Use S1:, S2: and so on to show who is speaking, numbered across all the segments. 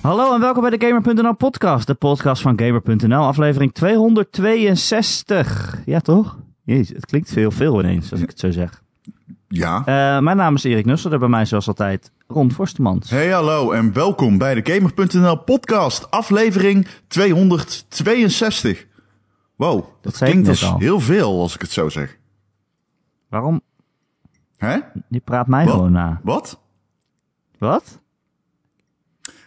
S1: Hallo en welkom bij de Gamer.nl podcast, de podcast van Gamer.nl, aflevering 262. Ja toch? Jezus, het klinkt heel veel ineens als ik het zo zeg.
S2: Ja.
S1: Eh, mijn naam is Erik Nusselder, bij mij zoals altijd Ron Forstemans.
S2: Hey hallo en welkom bij de Gamer.nl podcast, aflevering 262. Wow, dat,
S1: zei ik
S2: klinkt
S1: net
S2: als
S1: al.
S2: heel veel als ik het zo zeg.
S1: Waarom?
S2: Hè?
S1: Je praat mij
S2: Wat?
S1: gewoon na.
S2: Wat?
S1: Wat?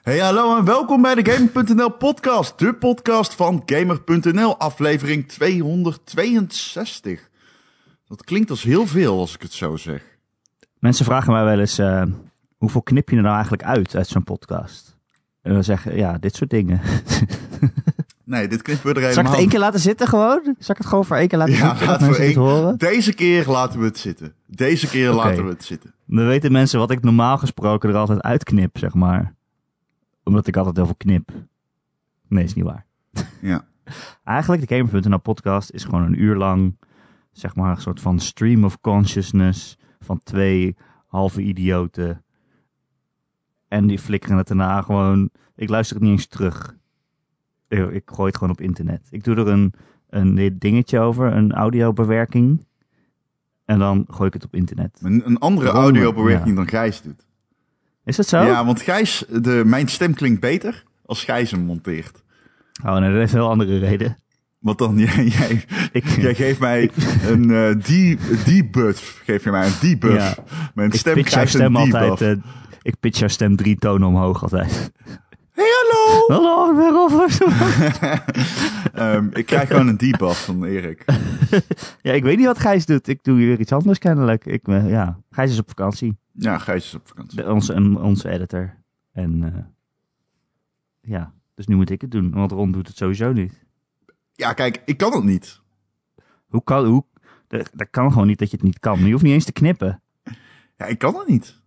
S2: Hey hallo en welkom bij de Gamer.nl podcast, de podcast van Gamer.nl, aflevering 262. Dat klinkt als heel veel als ik het zo zeg.
S1: Mensen vragen mij wel eens, eh, hoeveel knip je er nou eigenlijk uit, uit zo'n podcast? En we zeggen, ja, dit soort dingen.
S2: Nee, dit klinkt weer er
S1: Zal ik
S2: helemaal
S1: het één keer laten zitten gewoon? Zal ik het gewoon voor één keer laten
S2: Ja,
S1: zitten?
S2: laat
S1: dat
S2: voor
S1: mensen het
S2: één-
S1: horen?
S2: Deze keer laten we het zitten. Deze keer
S1: Oké.
S2: laten we het zitten.
S1: Dan weten mensen wat ik normaal gesproken er altijd uitknip, zeg maar. Omdat ik altijd heel veel knip. Nee, is niet waar.
S2: Ja.
S1: Eigenlijk, de Gamer.nl podcast is gewoon een uur lang, zeg maar, een soort van stream of consciousness van twee halve idioten. En die flikkeren het daarna gewoon. Ik luister het niet eens terug. Ik, ik gooi het gewoon op internet. Ik doe er een, een dingetje over, een audiobewerking. En dan gooi ik het op internet.
S2: Een, een andere
S1: Ronde,
S2: audiobewerking
S1: ja. Oh?
S2: dan Gijs doet.
S1: Is dat zo?
S2: Ja, want Gijs, de, mijn stem klinkt beter als Gijs hem monteert.
S1: Oh, nee, dat heeft een heel andere reden.
S2: Want dan, jij, jij,
S1: Ik,
S2: jij geeft mij een eh die, debuff. Geef je mij een debuff.
S1: Ja.
S2: Mijn
S1: ik
S2: stem
S1: pitch jouw
S2: krijgt
S1: stem
S2: een debuff.
S1: altijd. eh, ik pitch jouw stem drie tonen omhoog altijd.
S2: hey, hallo!
S1: Hallo, ik ben Rolf Horstman.
S2: Ehm, ik krijg gewoon een debuff van Erik.
S1: Ja, ik weet niet wat Gijs doet. Ik doe hier weer iets anders kennelijk. Ik, ben- ja. Gijs is op vakantie.
S2: Ja, Gijs is op vakantie.
S1: De- onze, en- onze editor. En eh, ja, dus nu moet ik het doen. Want Ron doet het sowieso niet.
S2: Ja, kijk, ik kan het niet.
S1: Hoe kan... Hoe, dat, dat kan gewoon niet dat je het niet kan. Je hoeft niet eens te knippen.
S2: Ja, ik kan het niet.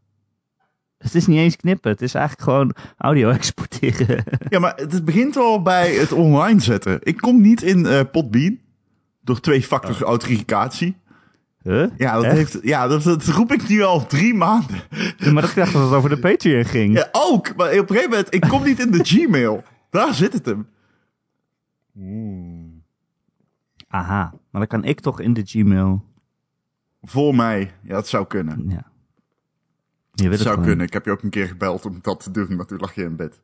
S1: Het is niet eens knippen. Het is eigenlijk gewoon audio exporteren.
S2: Ja, maar het begint al bij het online zetten. Ik kom niet in eh Podbean. Door twee-factor
S1: Oh.
S2: authenticatie.
S1: Huh?
S2: Ja, dat,
S1: Echt?
S2: heeft, ja dat, dat roep ik nu al drie maanden.
S1: Maar dat dacht dat het over de Patreon ging.
S2: Ja, ook. Maar op een gegeven moment, ik kom niet in de Gmail. Daar zit het hem.
S1: Aha, maar dan kan ik toch in de Gmail.
S2: Voor mij. Ja, dat zou kunnen.
S1: Ja. Je weet het
S2: Dat zou
S1: gewoon.
S2: kunnen. Ik heb je ook een keer gebeld om dat te doen, maar toen lag je in bed.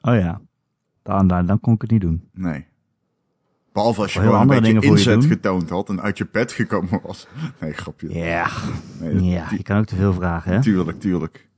S1: Oh ja. Dan, dan, dan kon ik het niet doen.
S2: Nee. Behalve als je
S1: Wel heel
S2: gewoon een
S1: andere
S2: beetje
S1: dingen voor je
S2: inzet
S1: doen.
S2: getoond had en uit je bed gekomen was. Nee, grapje.
S1: Ja.
S2: Nee, dat-
S1: Ja, je kan ook te veel vragen, hè?
S2: Tuurlijk, tuurlijk.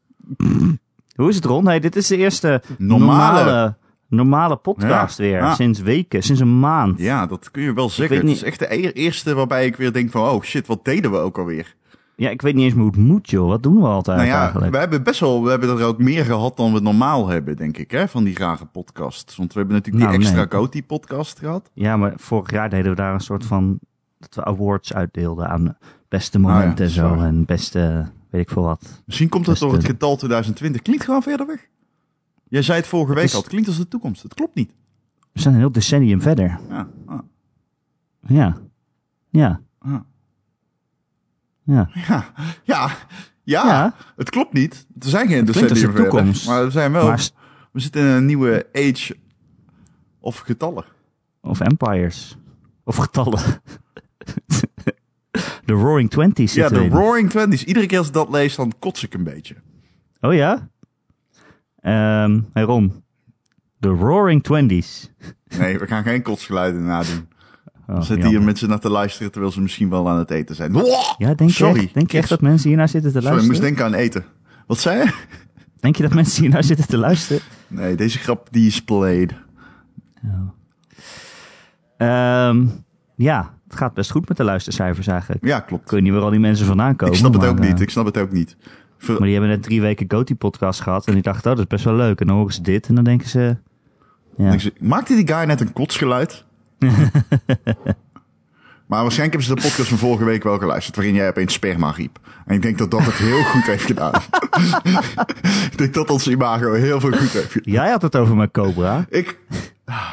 S1: Hoe is het, Ron? Hey, dit is de eerste
S2: Normale.
S1: normale, normale podcast
S2: Ja,
S1: weer.
S2: ja.
S1: Sinds weken, sinds een maand.
S2: Ja, dat kun je wel zeggen.
S1: weet
S2: Het is
S1: niet-
S2: echt de e- eerste waarbij ik weer denk van, oh shit, wat deden we ook alweer?
S1: Ja, ik weet niet eens meer hoe het moet, joh. Wat doen we altijd
S2: nou ja,
S1: eigenlijk?
S2: we hebben best wel, we hebben er ook meer gehad dan we normaal hebben, denk ik, hè, van die rare podcasts. Want we hebben natuurlijk
S1: Nou,
S2: die extra
S1: nee.
S2: Coty podcast gehad.
S1: Ja, maar vorig jaar deden we daar een soort van... Dat we awards uitdeelden aan beste momenten
S2: Ah ja,
S1: en zo.
S2: sorry.
S1: En beste, weet ik veel wat.
S2: Misschien komt het
S1: Dat is
S2: door het
S1: de-
S2: getal 2020. Klinkt gewoon verder weg. Jij zei het vorige week
S1: is-
S2: al. Het klinkt als de toekomst. Het klopt niet.
S1: We zijn een heel decennium verder.
S2: Ja, ah,
S1: Ja. Ja.
S2: ah.
S1: Ja.
S2: ja, ja, ja,
S1: Ja.
S2: het klopt niet. Er zijn geen
S1: klinkt als de
S2: decennium verder.
S1: toekomst.
S2: Maar we zijn wel.
S1: Maar s-
S2: We zitten in een nieuwe age of getallen.
S1: of empires. Of getallen. De Roaring Twenties
S2: Ja,
S1: zitten
S2: de
S1: we in.
S2: Roaring Twenties. Iedere keer als ik dat lees, dan kots ik een beetje.
S1: Oh ja? Ehm hey Ron. De Roaring Twenties.
S2: Nee, we gaan geen kotsgeluiden nadoen.
S1: Oh,
S2: Dan zitten
S1: jammer.
S2: hier mensen naar te luisteren terwijl ze misschien wel aan het eten zijn.
S1: Ja, denk je,
S2: Sorry.
S1: echt, denk je echt dat mensen hiernaar zitten te
S2: Sorry, ik
S1: luisteren?
S2: moest denken aan eten. Wat zei je?
S1: Denk je dat mensen hiernaar zitten te luisteren?
S2: Nee, deze grap die is played.
S1: Ehm, ja, het gaat best goed met de luistercijfers eigenlijk.
S2: Ja, klopt.
S1: Ik weet niet waar al die mensen vandaan komen.
S2: Ik snap het
S1: maar,
S2: ook
S1: eh,
S2: niet. Ik snap het ook niet. Ver-
S1: Maar die hebben net drie weken Goatie-podcast gehad. En die dachten, oh, dat is best wel leuk. En dan horen ze dit en dan denken ze... Ja.
S2: ik zeg, Maakte die guy net een kotsgeluid? maar waarschijnlijk hebben ze de podcast van vorige week wel geluisterd, waarin jij opeens sperma riep. En ik denk dat dat het heel goed heeft gedaan. ik denk dat ons imago heel veel goed heeft gedaan.
S1: Jij had het over mijn Cobra.
S2: Ik... Ah.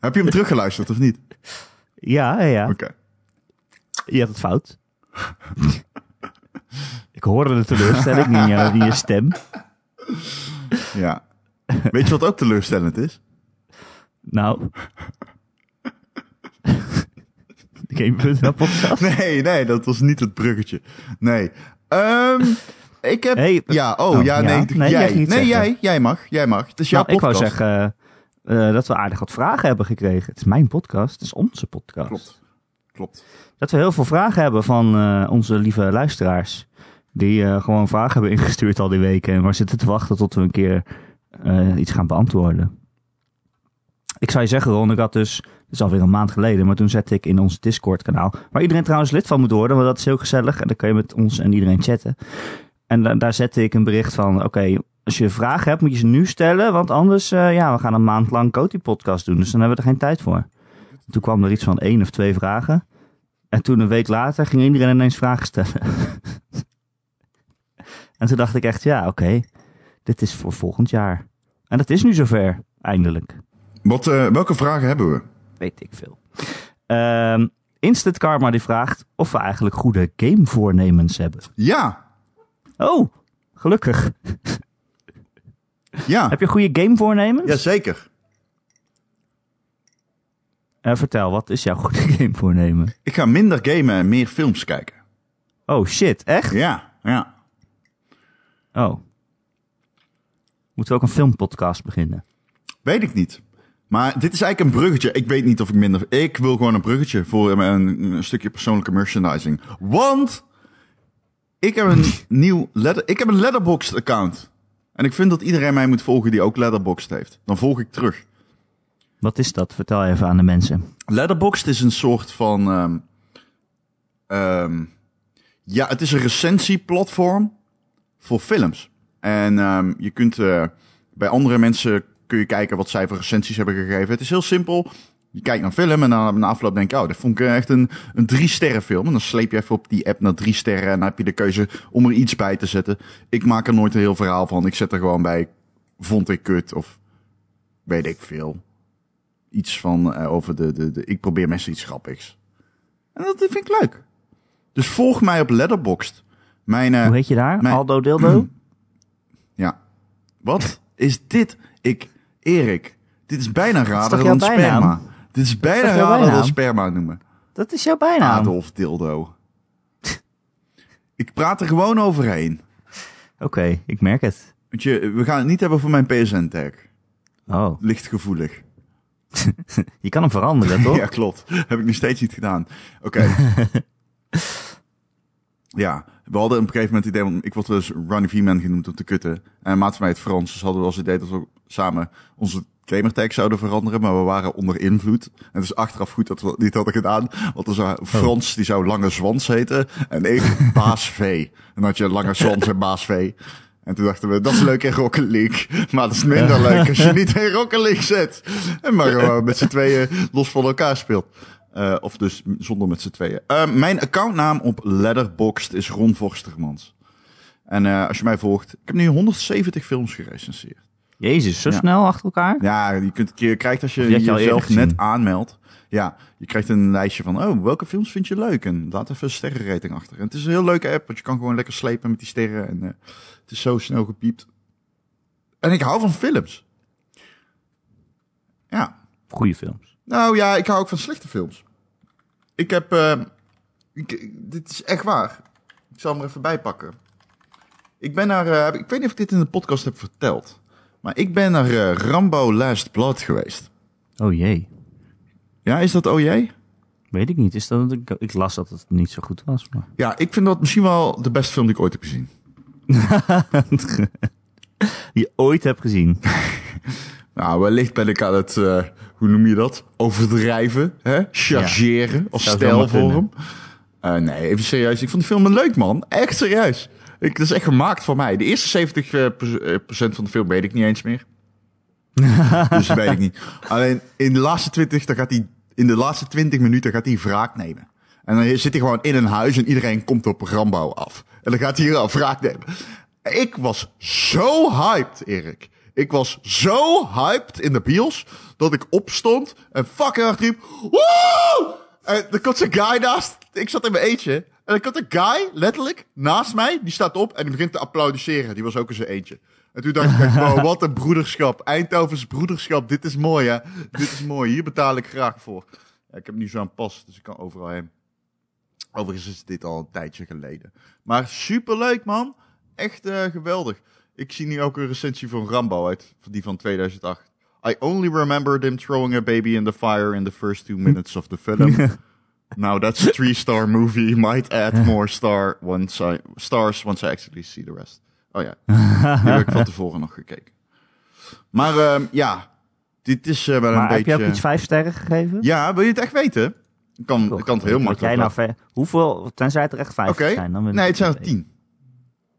S2: Heb je hem teruggeluisterd of niet?
S1: Ja, ja, ja.
S2: Oké.
S1: Je had het fout. ik hoorde de teleurstelling in, jou, in je stem.
S2: Ja. Weet je wat ook teleurstellend is?
S1: Nou. De Game.nl podcast.
S2: Nee, nee, dat was niet het bruggetje. Nee. Ehm, ik heb...
S1: Hey,
S2: ja, oh,
S1: nou,
S2: ja,
S1: ja.
S2: nee.
S1: Nee, jij
S2: jij,
S1: ging
S2: nee
S1: niet zeggen.
S2: jij, jij mag. Jij mag. Het is jouw
S1: Nou, ik wou
S2: podcast.
S1: zeggen eh, dat we aardig wat vragen hebben gekregen. Het is mijn podcast, het is onze podcast.
S2: Klopt. Klopt.
S1: Dat we heel veel vragen hebben van eh, onze lieve luisteraars. Die eh, gewoon vragen hebben ingestuurd al die weken. En waar zitten te wachten tot we een keer eh, iets gaan beantwoorden. Ik zou je zeggen, Ron, ik had dus. Het is alweer een maand geleden, maar toen zette ik in ons Discord-kanaal. Waar iedereen trouwens lid van moet worden, want dat is heel gezellig. En dan kun je met ons en iedereen chatten. En da- daar zette ik een bericht van: oké, als je vragen hebt, moet je ze nu stellen. Want anders, eh, ja, we gaan een maand lang Coty-podcast doen. Dus dan hebben we er geen tijd voor. Toen kwam er iets van één of twee vragen. En toen een week later ging iedereen ineens vragen stellen. en toen dacht ik echt, ja, oké, dit is voor volgend jaar. En dat is nu zover, eindelijk.
S2: Wat, eh, welke vragen hebben we?
S1: Weet ik veel. Ehm, Instant Karma die vraagt of we eigenlijk goede gamevoornemens hebben.
S2: Ja.
S1: Oh, gelukkig.
S2: Ja.
S1: Heb je goede gamevoornemens?
S2: Jazeker.
S1: Eh, vertel, wat is jouw goede gamevoornemen?
S2: Ik ga minder gamen en meer films kijken.
S1: Oh shit, echt?
S2: Ja. Ja.
S1: Oh. Moeten we ook een filmpodcast beginnen?
S2: Weet ik niet. Maar dit is eigenlijk een bruggetje. Ik weet niet of ik minder. Ik wil gewoon een bruggetje voor een, een stukje persoonlijke merchandising. Want ik heb een nieuw letter. Ik heb een letterboxd account. En ik vind dat iedereen mij moet volgen die ook letterboxd heeft. Dan volg ik terug.
S1: Wat is dat? Vertel even aan de mensen.
S2: Letterboxd is een soort van. ehm, ehm, ja, het is een recensieplatform voor films. En ehm, je kunt eh, bij andere mensen kun je kijken wat zij voor recensies hebben gegeven. Het is heel simpel. Je kijkt naar een film en dan na afloop denk je, oh, dat vond ik eh, echt een, een drie sterren film. En dan sleep je even op die app naar drie sterren en dan heb je de keuze om er iets bij te zetten. Ik maak er nooit een heel verhaal van. Ik zet er gewoon bij, vond ik kut of weet ik veel iets van eh, over de, de, de. Ik probeer mensen iets grappigs. En dat vind ik leuk. Dus volg mij op Letterboxd. Mijn. eh,
S1: Hoe heet je daar?
S2: mijn-
S1: Aldo Dildo?
S2: ja. Wat is dit? Ik, Erik. Dit is bijna rader
S1: toch
S2: dan
S1: jouw bijnaam?
S2: sperma. Dit is bijna
S1: toch jouw
S2: rader dan
S1: bijnaam?
S2: sperma noemen.
S1: dat is jouw bijnaam. Oké,
S2: Adolf Dildo. ik praat er gewoon overheen.
S1: ik merk het.
S2: Want je, we gaan het niet hebben voor mijn PSN-tag.
S1: Oh,
S2: Licht gevoelig.
S1: je kan hem veranderen, toch?
S2: Ja, klopt. Heb ik nog steeds niet gedaan. Oké. ja, we hadden op een gegeven moment het idee, want ik word wel eens Ronnie V-man genoemd om te kutten. En een maat van mij het Frans, dus hadden we als idee dat we samen onze gamertag zouden veranderen, maar we waren onder invloed. En het is achteraf goed dat we dat niet hadden gedaan, want er zou Frans, die zou Lange Zwans heten, en ik Baas V. En dan had je Lange Zwans en Baas V. En toen dachten we, dat is leuk in Rocket League. Maar dat is minder leuk als je niet in Rocket League zit. En maar gewoon met z'n tweeën los van elkaar speelt. Eh, of dus zonder met z'n tweeën. Eh, mijn accountnaam op Letterboxd is Ron Vorstermans. En eh, als je mij volgt, ik heb nu 170 films gerecenseerd.
S1: Jezus, zo
S2: Ja.
S1: snel achter elkaar?
S2: Ja, je, kunt, je krijgt als je,
S1: Of die had je al
S2: jezelf
S1: eerder
S2: net
S1: gezien.
S2: aanmeldt. Ja, je krijgt een lijstje van, oh, welke films vind je leuk? En laat even een sterrenrating achter. En het is een heel leuke app, want je kan gewoon lekker slepen met die sterren. En eh, het is zo snel gepiept. En ik hou van films. Ja,
S1: Goeie films.
S2: nou ja, ik hou ook van slechte films. Ik heb. eh, ik, ik- dit is echt waar. Ik zal hem er even bij pakken. Ik ben naar. eh, ik weet niet of ik dit in de podcast heb verteld. Maar ik ben naar eh, Rambo Last Blood geweest.
S1: Oh jee,
S2: Ja, is dat oh jij?
S1: weet ik niet. Is dat, ik, ik las dat het niet zo goed was, maar...
S2: Ja, ik vind dat misschien wel de beste film die ik ooit heb gezien.
S1: Die je ooit hebt gezien.
S2: Nou, wellicht ben ik aan het, eh, hoe noem je dat? Overdrijven, hè? Chargeren als
S1: Zou zomaar
S2: stijlvorm. Eh nee, even serieus. Ik vond die film leuk, man. Echt serieus. Ik, dat is echt gemaakt van mij. De eerste 70% eh, procent van de film weet ik niet eens meer. dus dat weet ik niet. Alleen in de laatste 20, dan gaat hij, in de laatste 20 minuten gaat hij wraak nemen. En dan zit hij gewoon in een huis en iedereen komt op Rambo af. En dan gaat hij hier al wraak nemen. Ik was zo hyped, Erik. Ik was zo hyped in de bios dat ik opstond en fucking hard riep. Woe! En er komt zo'n guy naast. Ik zat in mijn eentje. En er komt een guy, letterlijk, naast mij. Die staat op en die begint te applaudisseren. Die was ook in zijn eentje. En toen dacht ik, echt, wow, wat een broederschap. Eindhovens broederschap, dit is mooi hè. Dit is mooi, hier betaal ik graag voor. Ja, ik heb nu zo'n pas, dus ik kan overal heen. Overigens is dit al een tijdje geleden. Maar superleuk man, echt eh, geweldig. Ik zie nu ook een recensie van Rambo uit, van die van 2008. I only remembered him throwing a baby in the fire in the first two minutes of the film. Now that's a three-star movie. Might add more star once I, stars once I actually see the rest. Oh ja, die heb ik van tevoren nog gekeken. Maar ehm, ja, dit is eh, wel een
S1: Maar heb
S2: beetje...
S1: je ook iets vijf sterren gegeven?
S2: Ja, wil je het echt weten? Ik kan, ik kan het heel
S1: Wat jij
S2: makkelijk
S1: nou
S2: laten.
S1: ver... Hoeveel, tenzij het er echt vijf
S2: Oké,
S1: zijn. Dan wil ik
S2: nee, het zijn er
S1: weten.
S2: tien.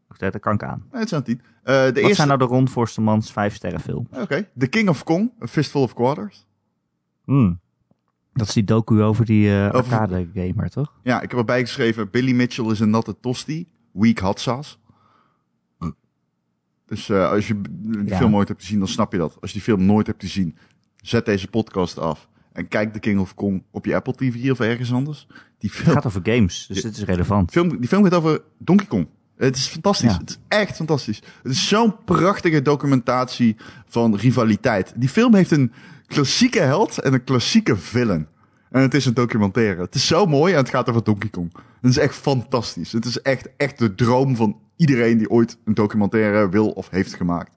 S1: Oké, Dat kan ik aan.
S2: Nee, het zijn er tien. Eh, de
S1: Wat
S2: eerste...
S1: zijn nou de Ron Forstemans vijf sterren film?
S2: Oké, The King of Kong, A Fistful of Quarters.
S1: Hmm. Dat is die docu over die eh,
S2: Over-
S1: arcade gamer, toch?
S2: Ja, ik heb erbij geschreven, Billy Mitchell is een natte tosti. Weak hot sauce. Dus eh, als je b- die
S1: Ja.
S2: film nooit hebt gezien, dan snap je dat. Als je die film nooit hebt gezien, zet deze podcast af. En kijk The King of Kong op je Apple TV of ergens anders. Die
S1: Het
S2: film,
S1: gaat over games, dus dit is relevant.
S2: film, die film gaat over Donkey Kong. Het is fantastisch.
S1: Ja.
S2: Het is echt fantastisch. Het is zo'n prachtige documentatie van rivaliteit. Die film heeft een klassieke held en een klassieke villain. En het is een documentaire. Het is zo mooi en het gaat over Donkey Kong. Het is echt fantastisch. Het is echt, echt de droom van iedereen die ooit een documentaire wil of heeft gemaakt.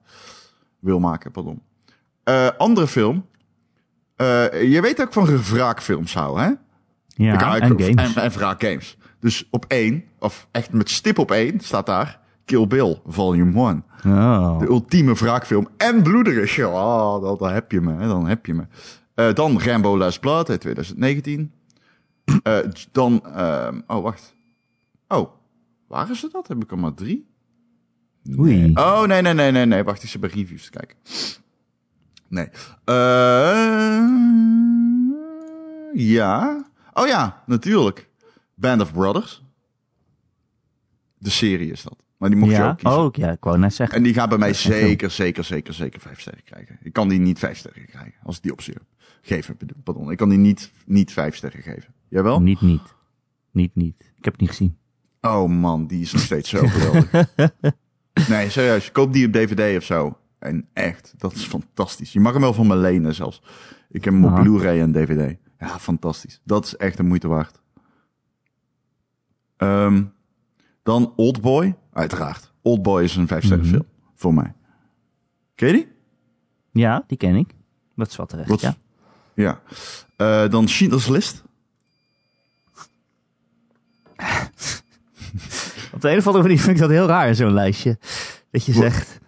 S2: Wil maken, pardon. Eh, andere film. Eh, je weet dat ik van wraakfilms hou, hè? Ik
S1: Ja,
S2: hou
S1: en
S2: ook-
S1: games.
S2: En, en vooral games. Dus op één, of echt met stip op één, staat daar Kill Bill Volume 1.
S1: Oh.
S2: De ultieme wraakfilm en bloederig. Ja, oh, dan, dan heb je me, hè, dan heb je me. Eh, dan Rambo Last Blood uit 2019. Eh, dan, ehm, oh wacht. Oh, waren ze dat? Heb ik er maar drie?
S1: Oei.
S2: Oh, nee, nee, nee, nee, nee. Wacht, ik zit bij reviews te kijken. Nee. Eh, ja. Oh ja, natuurlijk. Band of Brothers. De serie is dat. Maar die mocht je
S1: Ja, Oh.
S2: ook kiezen.
S1: ook, ja, ik wou net zeggen.
S2: En die gaat bij mij
S1: geen
S2: zeker, zeker, zeker, zeker vijf sterren krijgen. Ik kan die niet vijf sterren krijgen. Als ik die optie heb. Geven, bedoel- pardon. Ik kan die niet, niet vijf sterren geven. Jawel?
S1: Oh, Niet, niet. Niet, niet. Ik heb het niet gezien.
S2: Oh man, die is nog steeds zo geweldig. nee, serieus. Koop die op DVD of zo. En echt, dat is fantastisch. Je mag hem wel van me lenen zelfs. Ik heb hem op
S1: Ah.
S2: Blu-ray en DVD. Ja, fantastisch. Dat is echt de moeite waard. Ehm, dan Oldboy. Uiteraard. Oldboy is een vijfsterren
S1: Mhm.
S2: film. Voor mij. Ken je die?
S1: Ja, die ken ik. Dat is wat terecht,
S2: Wat-
S1: ja.
S2: Ja. Eh, dan Schindler's List.
S1: Op de een of andere manier vind ik dat heel raar, zo'n lijstje. Dat je
S2: Wat?
S1: zegt...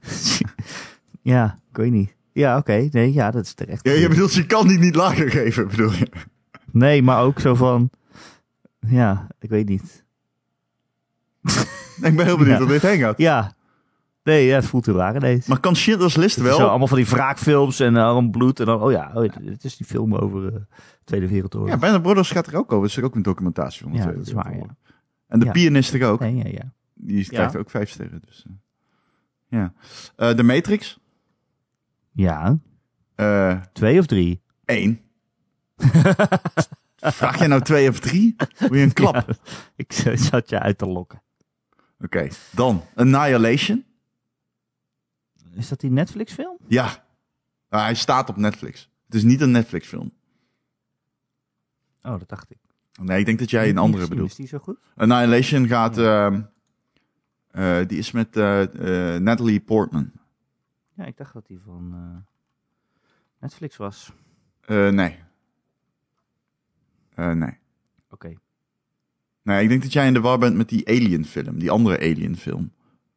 S1: ja, ik weet niet. Ja, oké. Nee, ja, dat is terecht.
S2: Ja, je bedoelt, je kan die niet lager geven, bedoel je?
S1: Nee, maar ook zo van... Ja, ik weet niet.
S2: Ik ben heel benieuwd
S1: Ja.
S2: hoe dit heen gaat.
S1: Ja. Nee, ja, het voelt heel raar ineens.
S2: Maar kan Schindler's List
S1: Het is Zo
S2: wel
S1: allemaal van die wraakfilms en dan bloed. En dan, oh ja, oh, het- het is die film over eh, Tweede Wereldoorlog.
S2: Ja, Band of Brothers gaat er ook over. Er is er ook een documentatie van de
S1: Ja,
S2: Tweede
S1: dat is waar,
S2: Wereldoorlog. En de
S1: Ja.
S2: pianist er ook.
S1: Nee, ja, ja.
S2: Die krijgt ook vijf sterren. Dus, eh, ja. Eh, de Matrix.
S1: Ja,
S2: eh
S1: twee of drie.
S2: één. Vraag jij nou twee of drie? Wil je een klap?
S1: Ja, ik zat je uit te lokken.
S2: Oké, dan Annihilation.
S1: Is dat die Netflix film?
S2: Ja, Ah, hij staat op Netflix. Het is niet een Netflix film.
S1: Oh, dat dacht ik.
S2: Nee, ik denk dat jij een andere bedoelt.
S1: Is die zo goed?
S2: Annihilation gaat... ehm, eh, die is met eh, eh, Natalie Portman.
S1: Ja, ik dacht dat die van eh, Netflix was.
S2: Eh, nee. Eh, nee.
S1: Oké.
S2: Nee, ik denk dat jij in de war bent met die Alien film. Die andere Alien film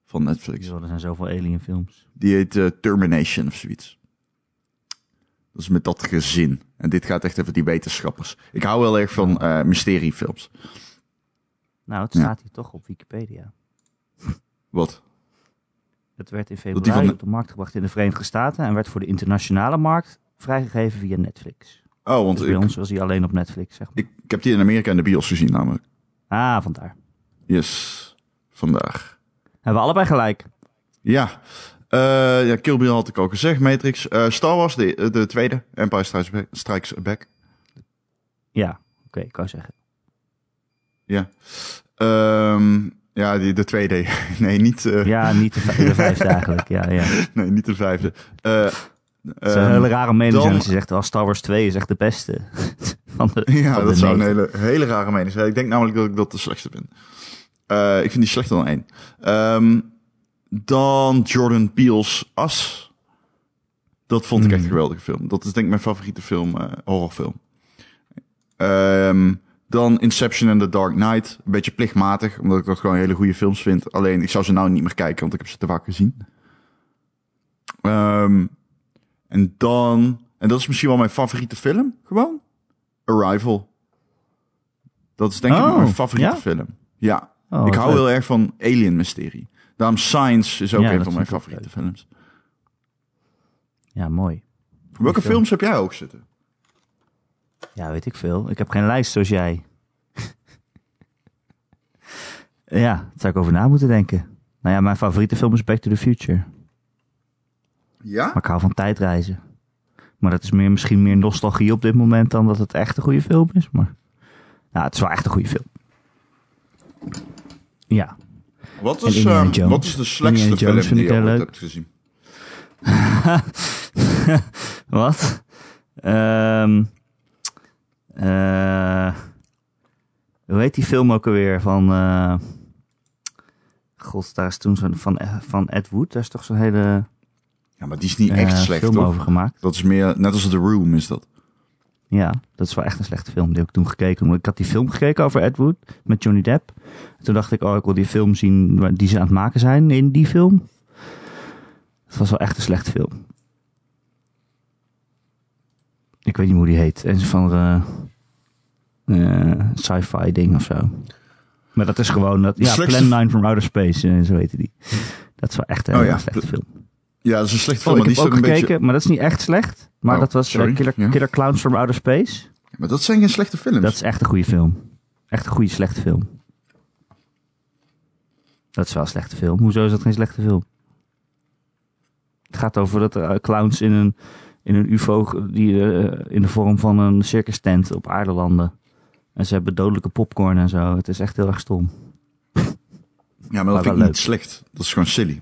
S2: van Netflix.
S1: Zo, dus er zijn zoveel Alien films.
S2: Die heet eh, Termination of zoiets. Dat is met dat gezin. En dit gaat echt over die wetenschappers. Ik hou wel erg van eh, mysteriefilms.
S1: Nou, het
S2: Ja.
S1: staat hier toch op Wikipedia.
S2: Wat?
S1: Het werd in
S2: die
S1: februari
S2: van-
S1: op de markt gebracht in de Verenigde Staten en werd voor de internationale markt vrijgegeven via Netflix.
S2: Oh,
S1: Dus
S2: want
S1: bij
S2: ik,
S1: ons was hij alleen op Netflix, zeg maar.
S2: ik, ik heb die in Amerika in de bios gezien namelijk.
S1: Ah, vandaar.
S2: Yes, vandaag.
S1: Hebben we allebei gelijk.
S2: Ja, Eh ja Kill Bill had ik al gezegd. Matrix. Eh, Star Wars, de, de tweede. Empire Strikes Back- Strikes Back.
S1: Ja, oké, ik kan zeggen.
S2: Ja. Ehm, Ja, die, de 2D. Nee, niet, eh,
S1: Ja, niet de, vij- de vijfde eigenlijk. Ja, ja. Het
S2: nee, niet de vijfde. Eh,
S1: is een
S2: ehm,
S1: hele rare mening zijn
S2: dan-
S1: als je zegt, oh, Star Wars 2 is echt de beste. van de,
S2: Ja,
S1: van
S2: dat
S1: de
S2: zou een
S1: negen.
S2: hele, hele rare mening zijn. Ik denk namelijk dat ik dat de slechtste vind. Eh, ik vind die slechter dan één. Ehm, dan Jordan Peele's As. Dat vond ik echt een geweldige film. Dat is denk ik mijn favoriete film, eh, horrorfilm. Ehm, dan Inception en The Dark Knight. Een beetje plichtmatig, omdat ik dat gewoon hele goede films vind. Alleen, ik zou ze nou niet meer kijken, want ik heb ze te vaak gezien. Ehm, en dan... En dat is misschien wel mijn favoriete film, gewoon. Arrival. Dat is denk ik
S1: Oh,
S2: mijn favoriete
S1: ja?
S2: film. Ja,
S1: Oh,
S2: ik
S1: wat
S2: hou
S1: leuk.
S2: heel erg van Alien Mysterie. Daarom Science is ook
S1: Ja,
S2: een
S1: dat
S2: van mijn
S1: vind ik ook
S2: favoriete films.
S1: Ja, mooi.
S2: Welke
S1: film.
S2: films heb jij ook zitten?
S1: Ja, weet ik veel. Ik heb geen lijst zoals jij. ja, daar zou ik over na moeten denken. Nou ja, mijn favoriete film is Back to the Future.
S2: Ja?
S1: Maar ik hou van tijdreizen. Maar dat is meer, misschien meer nostalgie op dit moment dan dat het echt een goede film is. Maar ja, het is wel echt een goede film. Ja,
S2: Wat
S1: En
S2: is,
S1: Indiana
S2: ehm,
S1: Jones.
S2: wat is de slechtste
S1: Indiana Jones vind
S2: film die
S1: ik
S2: je
S1: heel
S2: ooit
S1: leuk.
S2: hebt gezien?
S1: Wat? Ehm, eh, hoe heet die film ook alweer? Van. eh, God, daar is toen zo'n. Van, eh, van Ed Wood. Daar is toch zo'n hele.
S2: Ja, maar die is niet
S1: eh,
S2: echt slecht,
S1: film
S2: toch?
S1: over gemaakt.
S2: Dat is meer, net als The Room is dat.
S1: Ja, dat is wel echt een slechte film. Die heb ik toen gekeken. Want Ik had die film gekeken over Ed Wood. Met Johnny Depp. Toen dacht ik, oh, ik wil die film zien. waar- Die ze aan het maken zijn in die film. Het was wel echt een slechte film. Ik weet niet hoe die heet. En van de eh, sci-fi ding of zo. Maar dat is gewoon dat.
S2: De
S1: Ja,
S2: slechtste
S1: Plan 9 from Outer Space. en zo heette die. Dat is wel echt een
S2: Oh
S1: hele
S2: ja,
S1: slechte
S2: de-
S1: film.
S2: Ja, dat is een slecht
S1: Oh,
S2: film,
S1: ik
S2: maar die
S1: heb
S2: is ook
S1: ook
S2: een
S1: gekeken,
S2: beetje...
S1: maar dat is niet echt slecht. Maar
S2: Oh,
S1: dat was eh,
S2: sorry.
S1: Killer,
S2: Ja.
S1: Killer Clowns from Outer Space.
S2: Maar dat zijn geen slechte films.
S1: Dat is echt een goede film. Echt een goede slechte film. Dat is wel een slechte film. Hoezo is dat geen slechte film? Het gaat over dat er eh, clowns in een, in een ufo ge- die eh, in de vorm van een circus tent op aarde landen. En ze hebben dodelijke popcorn en zo. Het is echt heel erg stom.
S2: Ja, maar dat
S1: maar
S2: vind ik
S1: wel
S2: niet slecht. Dat is gewoon silly.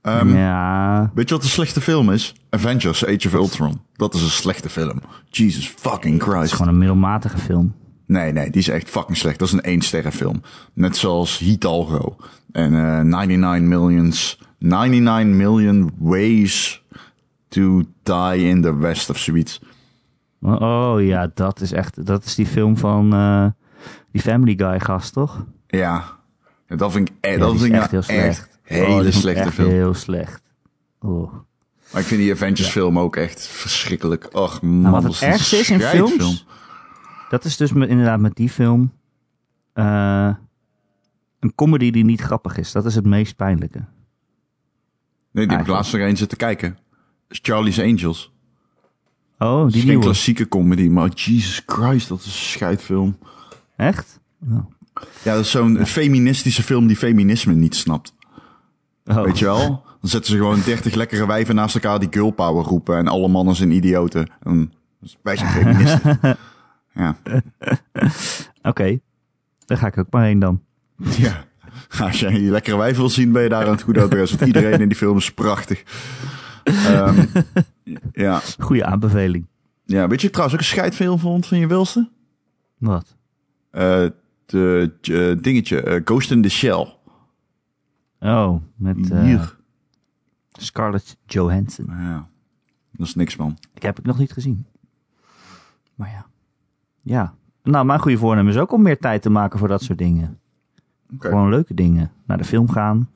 S2: Ehm,
S1: ja.
S2: Weet je wat een slechte film is? Avengers Age of Ultron. Dat is een slechte film. Jesus fucking
S1: Het is
S2: Christ.
S1: gewoon een middelmatige film.
S2: Nee, nee, die is echt fucking slecht. Dat is een één sterren film. Net zoals Heat Algo. En eh, 99 Millions... 99 Million Ways to Die in the West of zoiets.
S1: Oh ja, dat is echt. Dat is die film van eh, die Family Guy gast, toch?
S2: Ja. En dat vind ik, eh,
S1: Ja,
S2: dat
S1: die
S2: vind
S1: is
S2: ik
S1: echt heel
S2: nou
S1: slecht. Oh,
S2: echt
S1: die
S2: hele
S1: vond ik
S2: slechte
S1: echt
S2: film.
S1: Heel slecht. Oh.
S2: Maar ik vind die Avengers film ook echt verschrikkelijk. Ach man,
S1: Nou, wat
S2: dat
S1: het
S2: een
S1: ergste is in films,
S2: scheidfilm.
S1: dat is dus met, inderdaad met die film eh, een comedy die niet grappig is. Dat is het meest pijnlijke.
S2: Nee, die heb ik
S1: Eigenlijk.
S2: laatst nog eens zitten kijken. Is Charlie's Angels.
S1: Oh, die
S2: Die is geen
S1: nieuwe.
S2: klassieke comedy, maar Jesus Christ, dat is een scheidfilm.
S1: Echt? Oh.
S2: Ja, dat is zo'n feministische film die feminisme niet snapt.
S1: Oh.
S2: Weet je wel? Dan zetten ze gewoon 30 lekkere wijven naast elkaar die girl power roepen en alle mannen zijn idioten. En wij zijn feministen. ja.
S1: Oké, daar ga ik ook maar heen dan.
S2: ja. Als jij die lekkere wijven wil zien, ben je daar aan het goede adres. Want iedereen in die film is prachtig. Ehm, ja.
S1: Goeie aanbeveling.
S2: ja, weet je trouwens ook een scheidfilm vond van je wilste?
S1: Wat?
S2: eh de eh, dingetje, eh, Ghost in the Shell.
S1: Oh, met eh,
S2: Hier.
S1: Scarlett Johansson.
S2: Ja, dat is niks, man.
S1: Ik heb ik nog niet gezien. Maar ja. Ja. Nou, mijn goede voornemen is ook om meer tijd te maken voor dat soort dingen.
S2: Oké.
S1: Gewoon leuke dingen. Naar de film gaan.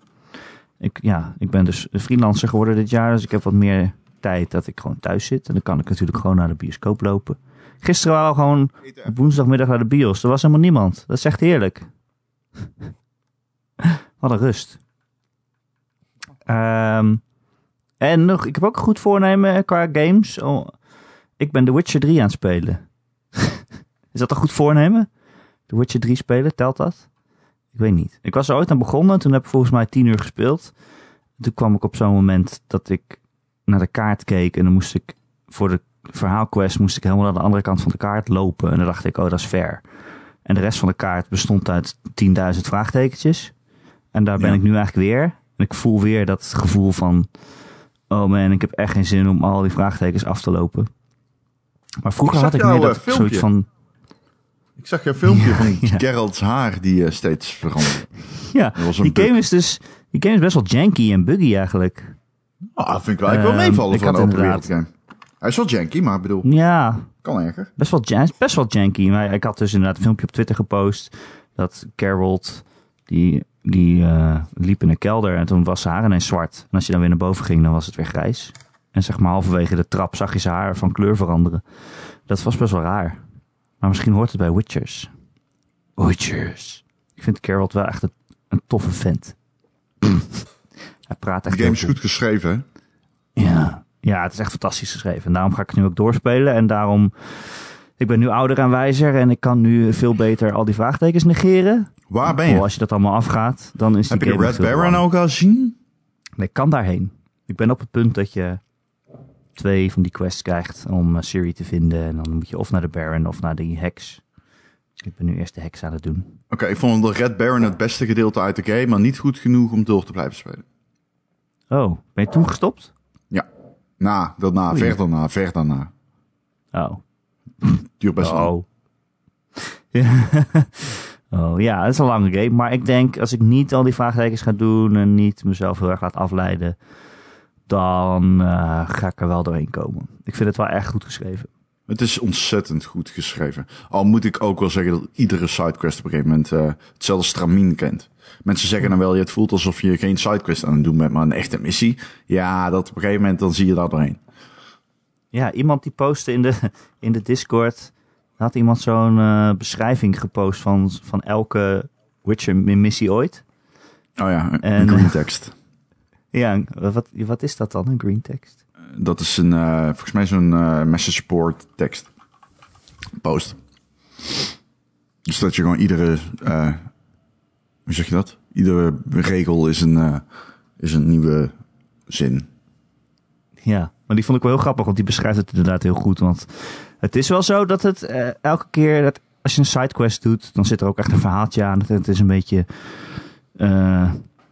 S1: Ik, ja, ik ben dus freelancer geworden dit jaar. Dus ik heb wat meer tijd dat ik gewoon thuis zit. En dan kan ik natuurlijk gewoon naar de bioscoop lopen. Gisteren waren we gewoon op woensdagmiddag naar de bios. Er was helemaal niemand. Dat is echt heerlijk. Wat een rust. Ehm, en nog, ik heb ook een goed voornemen eh, qua games. Oh, ik ben The Witcher 3 aan het spelen. is dat een goed voornemen? The Witcher 3 spelen, telt dat? Ik weet niet. Ik was er ooit aan begonnen. Toen heb ik volgens mij 10 uur gespeeld. Toen kwam ik op zo'n moment dat ik naar de kaart keek. En dan moest ik voor de verhaalquest moest ik helemaal aan de andere kant van de kaart lopen. En dan dacht ik, oh, dat is ver. En de rest van de kaart bestond uit 10.000 vraagtekentjes. En daar ben
S2: Ja.
S1: ik nu eigenlijk weer. En ik voel weer dat gevoel van... Oh man, ik heb echt geen zin om al die vraagtekens af te lopen. Maar vroeger
S2: Ik zag
S1: had ik
S2: jouw,
S1: meer
S2: eh,
S1: dat ik zoiets
S2: filmpje.
S1: van...
S2: Ik zag een filmpje van
S1: ja.
S2: Geralt's haar die eh, steeds veranderde.
S1: Ja,
S2: Dat was een
S1: die
S2: bug.
S1: game is dus... Die game is best wel janky en buggy eigenlijk.
S2: Ah, dat vind ik wel, ik wel
S1: Ehm,
S2: meevallen
S1: ik
S2: van een
S1: had
S2: open
S1: inderdaad-
S2: wereldgame. Hij is wel janky, maar ik bedoel,
S1: Ja,
S2: kan erger.
S1: best wel, jan- best wel janky. Maar ik had dus inderdaad een filmpje op Twitter gepost. Dat Carrot, die, die eh, liep in een kelder en toen was zijn haar ineens zwart. En als je dan weer naar boven ging, dan was het weer grijs. En zeg maar halverwege de trap zag je zijn haar van kleur veranderen. Dat was best wel raar. Maar misschien hoort het bij Witchers. Witchers. Ik vind Carrot wel echt een, een toffe vent. Hij praat echt
S2: De game
S1: heel
S2: is goed geschreven, hè?
S1: ja. ja, het is echt fantastisch geschreven. En daarom ga ik het nu ook doorspelen. En daarom, ik ben nu ouder en wijzer. En ik kan nu veel beter al die vraagtekens negeren.
S2: Waar ben
S1: Oh,
S2: je?
S1: als je dat allemaal afgaat, dan is die
S2: Heb je de
S1: game
S2: Red
S1: veel
S2: Baron
S1: belangrijk.
S2: al gezien?
S1: Nee, ik kan daarheen. Ik ben op het punt dat je twee van die quests krijgt om eh, Siri te vinden. En dan moet je of naar de Baron of naar die heks. Ik ben nu eerst de heks aan het doen.
S2: Oké, ik vond de Red Baron het beste gedeelte uit de game, maar niet goed genoeg om door te blijven spelen.
S1: Oh, ben je toen gestopt?
S2: Ja, na, daarna,
S1: Oei.
S2: ver daarna, ver daarna.
S1: Oh.
S2: Duurt best lang.
S1: Oh. oh ja, dat is een lange game. Maar ik denk, als ik niet al die vraagtekens ga doen en niet mezelf heel erg laat afleiden, dan eh, ga ik er wel doorheen komen. Ik vind het wel echt goed geschreven.
S2: Het is ontzettend goed geschreven. Al moet ik ook wel zeggen dat iedere sidequest op een gegeven moment eh, hetzelfde stramien kent. Mensen zeggen dan wel, je het voelt alsof je geen sidequest aan het doen bent, maar een echte missie. Ja, dat op een gegeven moment, dan zie je daar doorheen.
S1: Ja, iemand die postte in de, in de Discord, had iemand zo'n eh, beschrijving gepost van, van elke Witcher-missie ooit.
S2: Oh ja, een
S1: En-
S2: green text.
S1: Ja, wat, wat is dat dan, een green text?
S2: Dat is een, eh, volgens mij zo'n eh, message board tekst. Post. Dus dat je gewoon iedere, eh, hoe zeg je dat? Iedere regel is een, eh, is een nieuwe zin.
S1: Ja, maar die vond ik wel heel grappig, want die beschrijft het inderdaad heel goed. Want het is wel zo dat het eh, elke keer dat als je een sidequest doet, dan zit er ook echt een verhaaltje aan. Het, het is een beetje eh,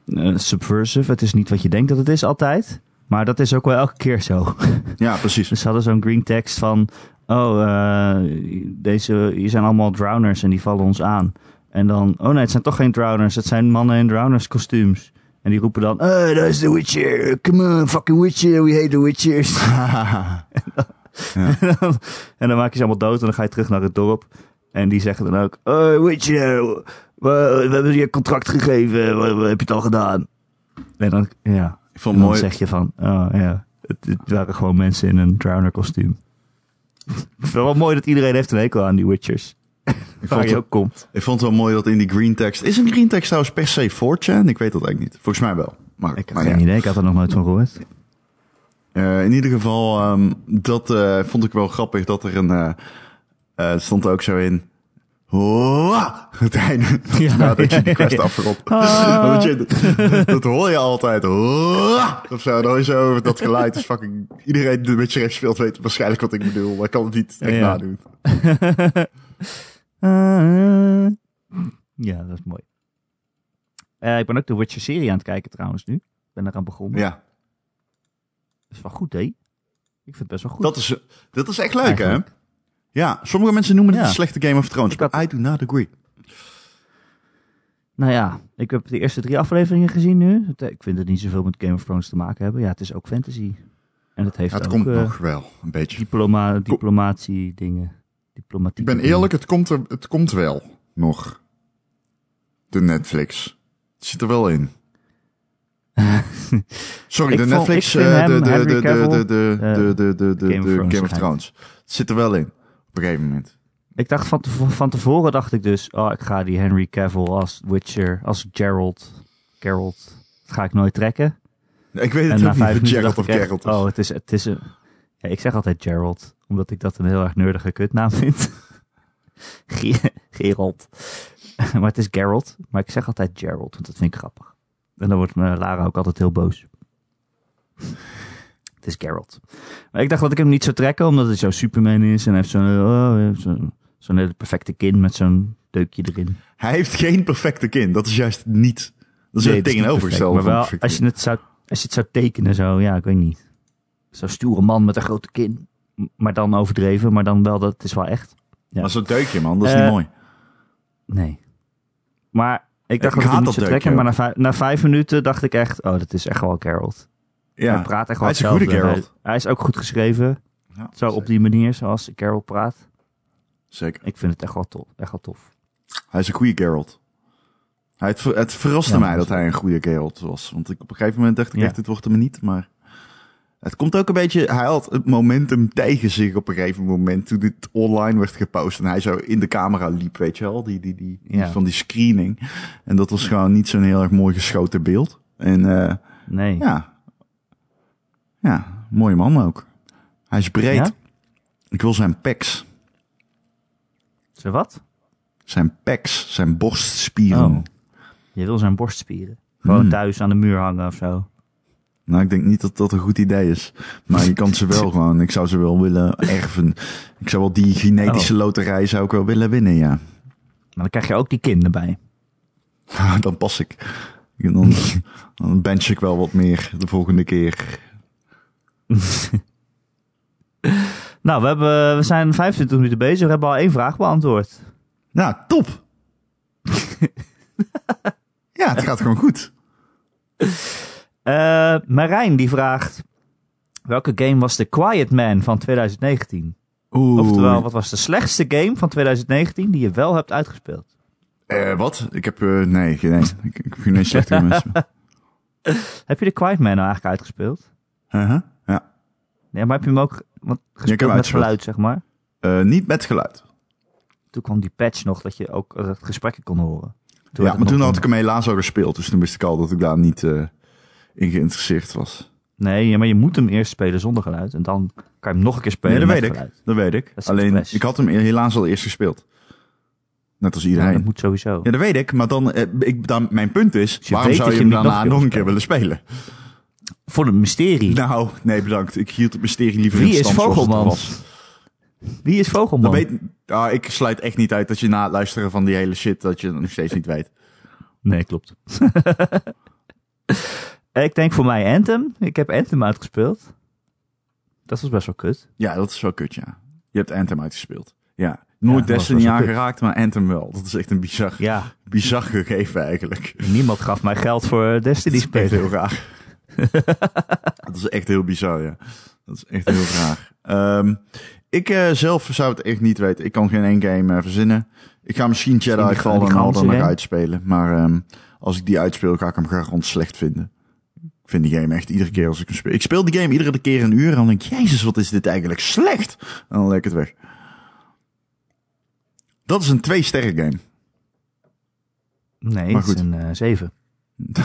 S1: eh, subversive. Het is niet wat je denkt dat het is altijd. Maar dat is ook wel elke keer zo.
S2: Ja, precies.
S1: Dus ze hadden zo'n green text van: Oh, eh, deze, hier zijn allemaal drowners en die vallen ons aan. En dan: Oh nee, het zijn toch geen drowners. Het zijn mannen in drowners kostuums. En die roepen dan: Oh, dat is de Witcher. Come on, fucking Witcher. We hate the Witchers. En dan- en dan maak je ze allemaal dood en dan ga je terug naar het dorp. En die zeggen dan ook: Oh, Witcher, we, we hebben je contract gegeven. Wat, wat heb je het al gedaan? En dan, ja.
S2: Ik vond
S1: En
S2: het
S1: dan
S2: mooi.
S1: zeg je van, oh ja, het, het waren gewoon mensen in een Drowner kostuum. Ik vind het wel mooi dat iedereen heeft een hekel aan die Witchers.
S2: Ik vond,
S1: Waar
S2: het,
S1: je ook komt.
S2: ik vond het wel mooi dat in die green text. Is een green text trouwens per se 4chan? Ik weet dat eigenlijk niet. Volgens mij wel. Maar,
S1: Ik heb
S2: maar
S1: geen
S2: ja.
S1: idee, ik had er nog nooit van gehoord.
S2: Eh, in ieder geval, ehm, dat eh, vond ik wel grappig dat er een. eh eh, stond ook zo in. Hoa! Het einde.
S1: Ja. Ah.
S2: Nadat je die quest afgerond. Want je- dat hoor je altijd. Hoa! Of zo. Dan hoor je zo dat geluid. is fucking. Iedereen die met je rechts speelt weet waarschijnlijk wat ik bedoel. Maar ik kan het niet echt
S1: Ja.
S2: nadoen.
S1: Eh, ja, dat is mooi. Eh, ik ben ook de Witcher-serie aan het kijken trouwens nu. Ik ben eraan begonnen.
S2: Ja.
S1: Dat is wel goed, hè? Ik vind het best wel goed.
S2: Dat is, dat is echt leuk, hè?
S1: eigenlijk.
S2: Ja, sommige mensen noemen het
S1: Ja.
S2: een slechte Game of Thrones.
S1: Ik had-
S2: but I do not agree.
S1: Nou ja, ik heb de eerste drie afleveringen gezien nu. Het, eh, Ik vind het niet zoveel met Game of Thrones te maken hebben. Ja, het is ook fantasy. En het heeft
S2: Ja, het
S1: ook
S2: komt
S1: eh,
S2: nog wel, een beetje.
S1: diploma, diplomatie dingen. Diplomatiek.
S2: Ik ben eerlijk, het komt, er, het komt wel nog. De Netflix. Het zit er wel in. Sorry,
S1: Ik
S2: de
S1: vond-
S2: Netflix,
S1: ik vind
S2: eh,
S1: hem,
S2: de- de-
S1: Henry
S2: de- de-
S1: Cavill,
S2: de- de-
S1: eh,
S2: de- de- de- de-
S1: Game of
S2: de
S1: Thrones
S2: Game
S1: schijnt.
S2: of Thrones. Het zit er wel in, op een gegeven moment.
S1: Ik dacht van, tevo- van tevoren dacht ik dus, oh, ik ga die Henry Cavill als Witcher, als Geralt, Geralt, dat ga ik nooit trekken.
S2: Ik weet
S1: en
S2: het ook
S1: na
S2: niet
S1: vijf
S2: of
S1: minuten
S2: Geralt
S1: dacht
S2: of
S1: ik echt,
S2: Geralt is.
S1: oh, het is, het is een, ja, ik zeg altijd Geralt, omdat ik dat een heel erg nerdige kutnaam vind. Ge- Geralt. maar het is Geralt, maar ik zeg altijd Geralt, want dat vind ik grappig. En dan wordt eh, Lara ook altijd heel boos. Het is Geralt. Maar ik dacht dat ik hem niet zou trekken, omdat hij zo Superman is. En hij heeft zo'n eh, oh, hij heeft zo'n zo'n hele perfecte kin met zo'n deukje erin.
S2: Hij heeft geen perfecte kin. Dat is juist niet. Dat is
S1: Nee, het is
S2: het
S1: niet perfect,
S2: tegenovergestelde. van
S1: Maar wel,
S2: perfecte
S1: als je, het zou, als je het zou tekenen zo, ja, ik weet niet. Zo'n stoere man met een grote kin. M- Maar dan overdreven, maar dan wel, dat het is wel echt. ja.
S2: Maar zo'n deukje, man, dat is
S1: Eh,
S2: niet mooi.
S1: Nee. Maar ik dacht
S2: Ik
S1: dat ik
S2: haat
S1: hem
S2: dat
S1: niet zou
S2: deukje
S1: trekken, maar na, vijf- na vijf minuten dacht ik echt, oh, dat is echt wel Geralt. Hij
S2: Ja.
S1: praat echt wel
S2: Hij is een goede
S1: hetzelfde.
S2: Geralt.
S1: Hij, hij is ook goed geschreven,
S2: Ja,
S1: zo op die manier zoals Geralt praat.
S2: Zeker.
S1: Ik vind het echt wel tof. Echt wel tof.
S2: Hij is een goede Geralt. Hij, het, ver- het verraste
S1: Ja,
S2: mij
S1: dat
S2: dat
S1: is-
S2: hij een goede Geralt was. Want ik, op een gegeven moment dacht ik
S1: Ja.
S2: echt, dit wordt hem niet. Maar het komt ook een beetje... Hij had het momentum tegen zich op een gegeven moment... toen dit online werd gepost. En hij zo in de camera liep, weet je wel. Die, die, die, die
S1: Ja.
S2: Van die screening. En dat was gewoon niet zo'n heel erg mooi geschoten beeld. En eh,
S1: Nee.
S2: ja. Ja, mooie man ook. Hij is breed.
S1: Ja?
S2: Ik wil zijn pecs.
S1: Zo wat?
S2: Zijn pecs. Zijn borstspieren.
S1: Oh. Je wil zijn borstspieren. Gewoon
S2: Hmm.
S1: thuis aan de muur hangen of zo.
S2: Nou, ik denk niet dat dat een goed idee is. Maar je kan ze wel gewoon. Ik zou ze wel willen erven. Ik zou wel die genetische
S1: Oh.
S2: loterij zou ik wel willen winnen, ja.
S1: Maar dan krijg je ook die kin erbij.
S2: Dan pas ik. Dan, dan bench ik wel wat meer de volgende keer.
S1: Nou, we, hebben, we zijn 25 minuten bezig. We hebben al één vraag beantwoord.
S2: Nou, top. Ja, het gaat gewoon goed.
S1: Eh, Marijn die vraagt... Welke game was The Quiet Man van 2019?
S2: Oeh.
S1: Oftewel, wat was de slechtste game van 2019 die je wel hebt uitgespeeld?
S2: Eh, wat? Ik heb... eh, nee, geen eens. Ik, ik heb geen eens slechtere mensen.
S1: Heb je The Quiet Man nou eigenlijk uitgespeeld?
S2: Uh-huh. Ja.
S1: Nee, maar heb je hem ook want, gespeeld
S2: hem
S1: met
S2: uitgespeeld.
S1: geluid, zeg maar?
S2: Eh, niet met geluid.
S1: Toen kwam die patch nog dat je ook dat het gesprekken kon horen.
S2: ja, maar toen had ik hem helaas al gespeeld. Dus toen wist ik al dat ik daar niet eh, in geïnteresseerd was.
S1: Nee, ja, maar je moet hem eerst spelen zonder geluid. En dan kan je hem nog een keer spelen
S2: Nee, dat
S1: met
S2: weet ik.
S1: geluid.
S2: Dat weet ik.
S1: Dat is
S2: Alleen,
S1: expres.
S2: ik had hem helaas al eerst gespeeld. Net als
S1: Ja,
S2: iedereen. Ja,
S1: dat moet sowieso.
S2: dat weet ik. Maar dan, eh, ik, dan, mijn punt is,
S1: je
S2: waarom
S1: weet
S2: zou
S1: dat
S2: je
S1: je
S2: hem
S1: hem niet
S2: daarna nog
S1: nog
S2: een
S1: een
S2: keer willen spelen?
S1: Voor het mysterie.
S2: Nou, nee, bedankt. Ik hield het mysterie liever
S1: Wie
S2: in
S1: is
S2: stand zoals het
S1: Vogelman?
S2: was.
S1: Wie is Vogelman?
S2: Dat weet, ah, ik sluit echt niet uit dat je na het luisteren van die hele shit, dat je het nog steeds niet weet.
S1: Nee, klopt. ik denk voor mij Anthem. Ik heb Anthem uitgespeeld. Dat was best wel kut.
S2: Ja, dat is wel kut, ja. Je hebt Anthem uitgespeeld. Ja, nooit
S1: Ja, dat was
S2: Destiny
S1: wel kut.
S2: aangeraakt, maar Anthem wel. Dat is echt een bizar,
S1: Ja,
S2: bizar gegeven eigenlijk.
S1: niemand gaf mij geld voor Destiny
S2: Dat is echt
S1: spelen.
S2: heel raar. dat is echt heel bizar, ja. Dat is echt heel raar. Ehm, ik eh, zelf zou het echt niet weten. Ik kan geen één game eh, verzinnen. Ik ga misschien Jedi
S1: die- die
S2: Fallen
S1: ganzen
S2: Order nog
S1: game.
S2: uitspelen. Maar ehm, als ik die uitspeel, ga ik hem garant slecht vinden. Ik vind die game echt iedere keer als ik hem speel. Ik speel die game iedere keer een uur en dan denk ik... Jezus, wat is dit eigenlijk slecht? En dan leg ik het weg. Dat is een twee-sterren game.
S1: Nee,
S2: Maar
S1: het is
S2: goed.
S1: een eh, 7.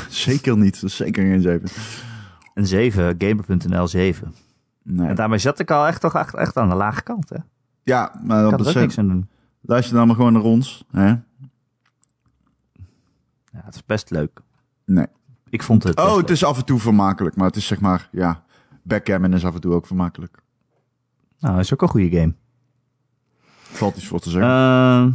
S2: zeker niet. Dat is zeker geen zeven.
S1: Een 7, gamer.nl 7.
S2: Nee.
S1: En daarmee zat ik al echt, toch echt, echt aan de lage kant. Hè? Ik
S2: Ja, maar dat
S1: kan er ook
S2: betekent...
S1: niks aan doen.
S2: Luister dan maar gewoon naar ons. Hè?
S1: Ja, het is best leuk.
S2: Nee.
S1: Ik vond het.
S2: Oh,
S1: best
S2: het
S1: leuk.
S2: is af en toe vermakelijk, maar het is zeg maar, ja, backgammon is af en toe ook vermakelijk.
S1: Nou, is ook een goede game.
S2: Valt iets voor te zeggen.
S1: Ehm,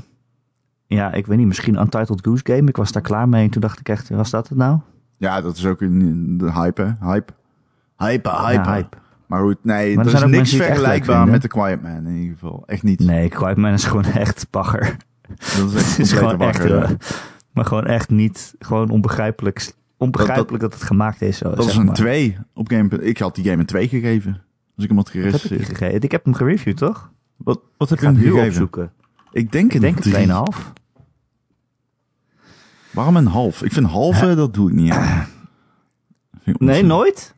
S1: ja, ik weet niet. Misschien Untitled Goose Game. Ik was daar klaar mee. En toen dacht ik echt, was dat het nou?
S2: ja, dat is ook een, een- de hype, hè? Hype. Hype, hype.
S1: Ja, hype.
S2: Maar goed, nee,
S1: Maar er
S2: er
S1: zijn
S2: is
S1: ook
S2: niks
S1: mensen die het echt leuk
S2: vergelijkbaar
S1: vinden.
S2: met The Quiet Man in ieder geval. Echt niet.
S1: Nee, Quiet Man is gewoon echt bagger.
S2: Dat is echt
S1: Het is gewoon
S2: complete
S1: echt,
S2: wakker,
S1: eh,
S2: ja.
S1: maar gewoon echt niet, gewoon onbegrijpelijk, onbegrijpelijk dat, het gemaakt is. Zo,
S2: Dat
S1: zeg
S2: is een
S1: maar.
S2: 2 op Game Ik had die game een 2 gegeven. Als ik hem had
S1: Wat heb ik die
S2: gerecenseerd.
S1: gegeven? Ik heb hem gereviewd, toch?
S2: Wat, wat heb
S1: Ik ga hem nu opzoeken.
S2: Ik denk
S1: Ik
S2: een
S1: denk
S2: 3.
S1: een 2,5.
S2: Waarom een half? Ik vind halve, dat doe ik niet aan. Vind ik
S1: Nee,
S2: onzin.
S1: nooit?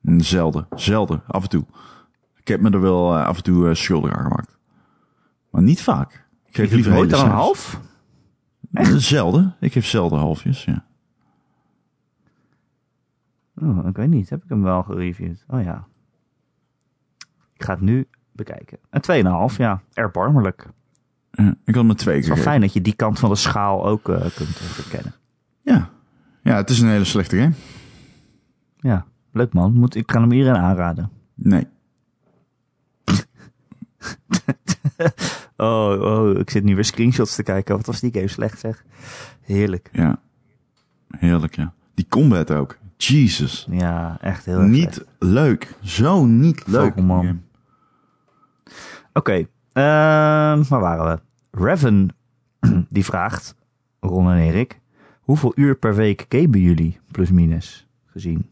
S2: Mm, Zelden, zelden, af en toe. Ik heb me er wel eh, af en toe eh, schuldig aan gemaakt. Maar niet vaak. Ik geef
S1: Jullie
S2: liever
S1: nooit
S2: hele
S1: dan een
S2: cijfers.
S1: half?
S2: Mm, Zelden. Ik geef zelden halfjes, ja.
S1: Oh, ik weet niet. Heb ik hem wel gereviewd? Oh ja. Ik ga het nu bekijken. Een 2,5, ja. Erbarmelijk. Het
S2: Ja, Ik had me twee
S1: is wel
S2: gegeven.
S1: fijn dat je die kant van de schaal ook eh, kunt herkennen.
S2: Ja. ja, het is een hele slechte game.
S1: Ja, leuk man. Moet, ik kan hem iedereen aanraden.
S2: Nee.
S1: Oh, oh, ik zit nu weer screenshots te kijken. Wat was die game slecht zeg. Heerlijk.
S2: Ja. Heerlijk, ja. Die combat ook. Jesus.
S1: Ja, echt heel erg slecht.
S2: Niet leuk. Zo niet leuk.
S1: Vogelman.
S2: die game.
S1: Oké, ehm, waar waren we? Reven, die vraagt, Ron en Erik, hoeveel uur per week gamen jullie, plus minus, gezien?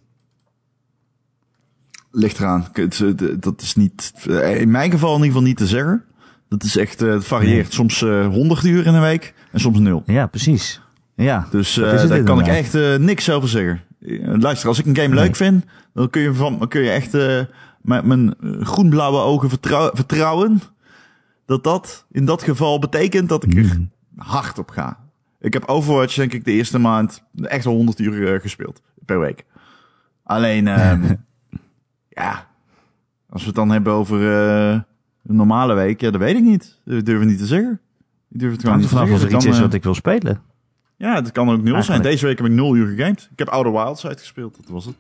S2: Ligt eraan. K- het, eh, d- Dat is niet, eh, in mijn geval in ieder geval niet te zeggen. Dat is echt, eh, het varieert.
S1: Nee.
S2: Soms eh 100 uur in een week en soms nul.
S1: Ja, precies. Ja,
S2: Dus
S1: Dat
S2: eh,
S1: is het
S2: daar kan ik
S1: inderdaad.
S2: echt eh, niks over zeggen. Eh, Luister, als ik een game
S1: Nee.
S2: leuk vind, dan kun je, van, dan kun je echt eh, met mijn groenblauwe ogen vertrouw- vertrouwen dat dat in dat geval betekent dat ik
S1: Hmm.
S2: er hard op ga. Ik heb Overwatch denk ik de eerste maand echt al 100 uur eh, gespeeld per week. Alleen, ehm, ja, als we het dan hebben over eh, een normale week, ja, dat weet ik niet. Dat durf ik niet te zeggen. Ik durf het gewoon
S1: hangt ervan
S2: niet te
S1: af
S2: zeggen.
S1: of er
S2: Dan,
S1: iets is
S2: eh,
S1: wat ik wil spelen.
S2: ja, het kan ook nul zijn.
S1: Eigenlijk.
S2: Deze week heb ik nul uur gegamed. Ik heb Outer Wilds uitgespeeld, dat was het.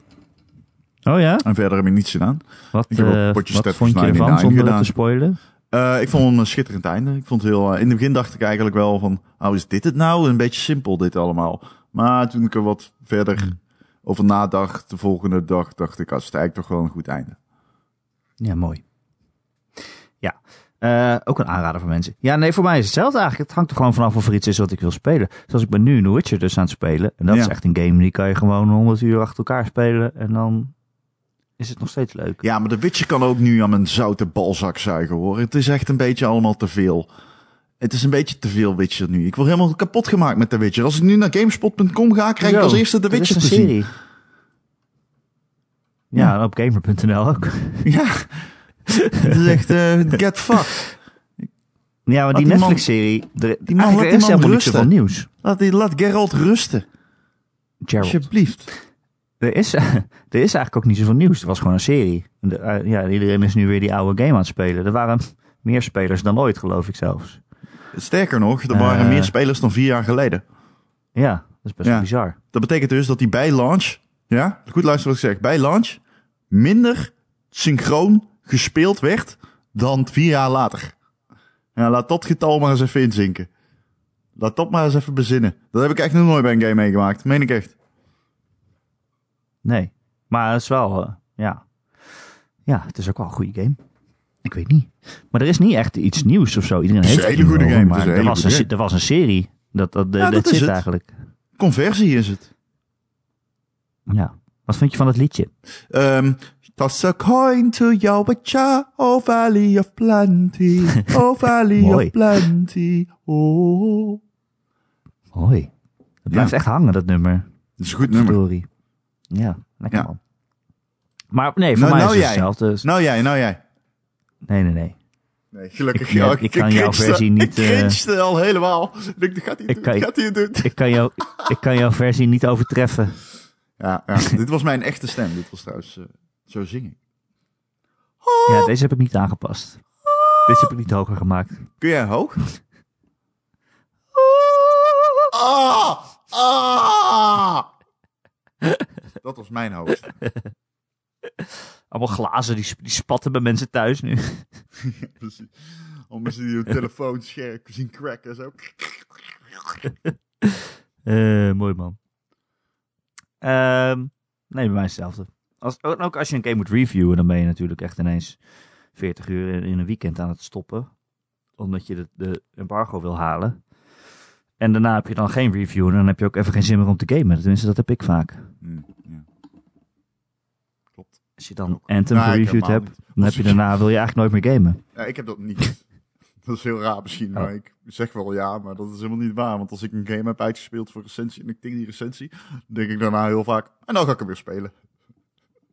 S1: Oh ja?
S2: En verder heb ik niets gedaan.
S1: Wat,
S2: Ik heb ook
S1: eh,
S2: potjes
S1: wat
S2: Tetris
S1: vond je
S2: 99
S1: ervan zonder het
S2: gedaan.
S1: te spoilen?
S2: Eh, ik vond hem een schitterend einde. Ik vond het heel, eh, in het begin dacht ik eigenlijk wel van, oh is dit het nou? Een beetje simpel dit allemaal. Maar toen ik er wat verder over nadacht, de volgende dag, dacht ik, ah, het is eigenlijk toch wel een goed einde.
S1: Ja, mooi. Ja, eh, ook een aanrader voor mensen. Ja, nee, voor mij is hetzelfde eigenlijk. Het hangt er gewoon vanaf of er iets is wat ik wil spelen. Zoals ik ben nu in The Witcher dus aan het spelen. En dat
S2: Ja.
S1: is echt een game die kan je gewoon 100 uur achter elkaar spelen. En dan is het nog steeds leuk.
S2: Ja, maar de Witcher kan ook nu aan mijn zoute balzak zuigen hoor. Het is echt een beetje allemaal te veel. Het is een beetje te veel Witcher nu. Ik word helemaal kapot gemaakt met de Witcher. Als ik nu naar gamespot.com ga, krijg ik als eerste de
S1: Dat is
S2: Witcher
S1: een
S2: te zien.
S1: serie. Ja, en op gamer.nl ook.
S2: Ja. Het is echt eh, get fucked.
S1: Ja, maar die
S2: die man-
S1: Netflix-serie, er-
S2: die
S1: eigenlijk er is
S2: man
S1: helemaal niet
S2: rusten.
S1: zoveel nieuws.
S2: Laat, die, laat Geralt rusten.
S1: Gerald.
S2: Alsjeblieft.
S1: Er is, er is eigenlijk ook niet zoveel nieuws. Het was gewoon een serie. En de- eh, ja, iedereen is nu weer die oude game aan het spelen. Er waren meer spelers dan ooit, geloof ik zelfs.
S2: Sterker nog, er waren
S1: Eh.
S2: meer spelers dan vier jaar geleden.
S1: Ja, dat is best
S2: Ja.
S1: bizar.
S2: Dat betekent dus dat die bij launch, ja, goed luisteren wat ik zeg, bij launch minder synchroon gespeeld werd dan vier jaar later. Ja, laat dat getal maar eens even inzinken. Laat dat maar eens even bezinnen. Dat heb ik echt nog nooit bij een game meegemaakt. Meen ik echt.
S1: Nee, maar het is wel, eh, ja. Ja, het is ook wel een goede game. Ik weet niet. Maar er is niet echt iets nieuws of zo. Iedereen
S2: Het is
S1: heeft
S2: een
S1: het
S2: hele
S1: nu
S2: goede
S1: over,
S2: game.
S1: Maar
S2: Het is een
S1: er,
S2: hele
S1: was een,
S2: goede
S1: se- er was een serie. Dat, dat,
S2: Ja,
S1: dat
S2: dat is
S1: zit
S2: het.
S1: eigenlijk.
S2: Conversie is het.
S1: Ja. Wat vind je van dat liedje?
S2: Ehm toss a coin to Yahweh, O Valley of Plenty, O Valley
S1: Mooi.
S2: of Plenty. Oh.
S1: Hoi. Het blijft echt hangen, dat nummer.
S2: Dat is een goed nummer.
S1: Story. Ja, lekker
S2: Ja.
S1: man. Maar nee, voor
S2: Nou,
S1: mij
S2: nou
S1: is het
S2: jij.
S1: hetzelfde. Dus-
S2: Nou jij, nou jij.
S1: Nee, nee, nee.
S2: Nee, gelukkig.
S1: Ik- ik kan jouw
S2: cringede-
S1: versie niet,
S2: Ik
S1: eh,
S2: cringede al helemaal. Ik denk, dat gaat hij
S1: Ik
S2: het doen,
S1: kan-
S2: dat gaat hij het doen.
S1: Ik kan, jou, ik kan jouw versie niet overtreffen.
S2: Ja, ja, dit was mijn echte stem. Dit was trouwens, eh, zo zing ik.
S1: Ja, deze heb ik niet aangepast. Dit heb ik niet hoger gemaakt.
S2: Kun jij hoog? Ah, ah. Dat was mijn hoogste.
S1: Allemaal glazen, die, sp- die spatten bij mensen thuis nu.
S2: Precies. Dus Om mensen die hun telefoon scherp zien cracken. Zo.
S1: Eh, mooi man. Ehm, nee, bij mij is hetzelfde. Als, en ook als je een game moet reviewen, dan ben je natuurlijk echt ineens 40 uur in, in een weekend aan het stoppen. Omdat je de, de embargo wil halen. En daarna heb je dan geen review en dan heb je ook even geen zin meer om te gamen. Tenminste, dat heb ik vaak.
S2: Mm, Klopt.
S1: Als je dan
S2: Ook.
S1: Anthem
S2: Nou, ik
S1: gereviewd
S2: helemaal
S1: hebt,
S2: niet.
S1: dan heb je daarna, wil je eigenlijk nooit meer gamen.
S2: Ja, ik heb dat niet. Dat is heel raar misschien, maar ik zeg wel ja, maar dat is helemaal niet waar. Want als ik een game heb uitgespeeld voor recensie en ik tik die recensie, dan denk ik daarna heel vaak, en dan ga ik hem weer spelen.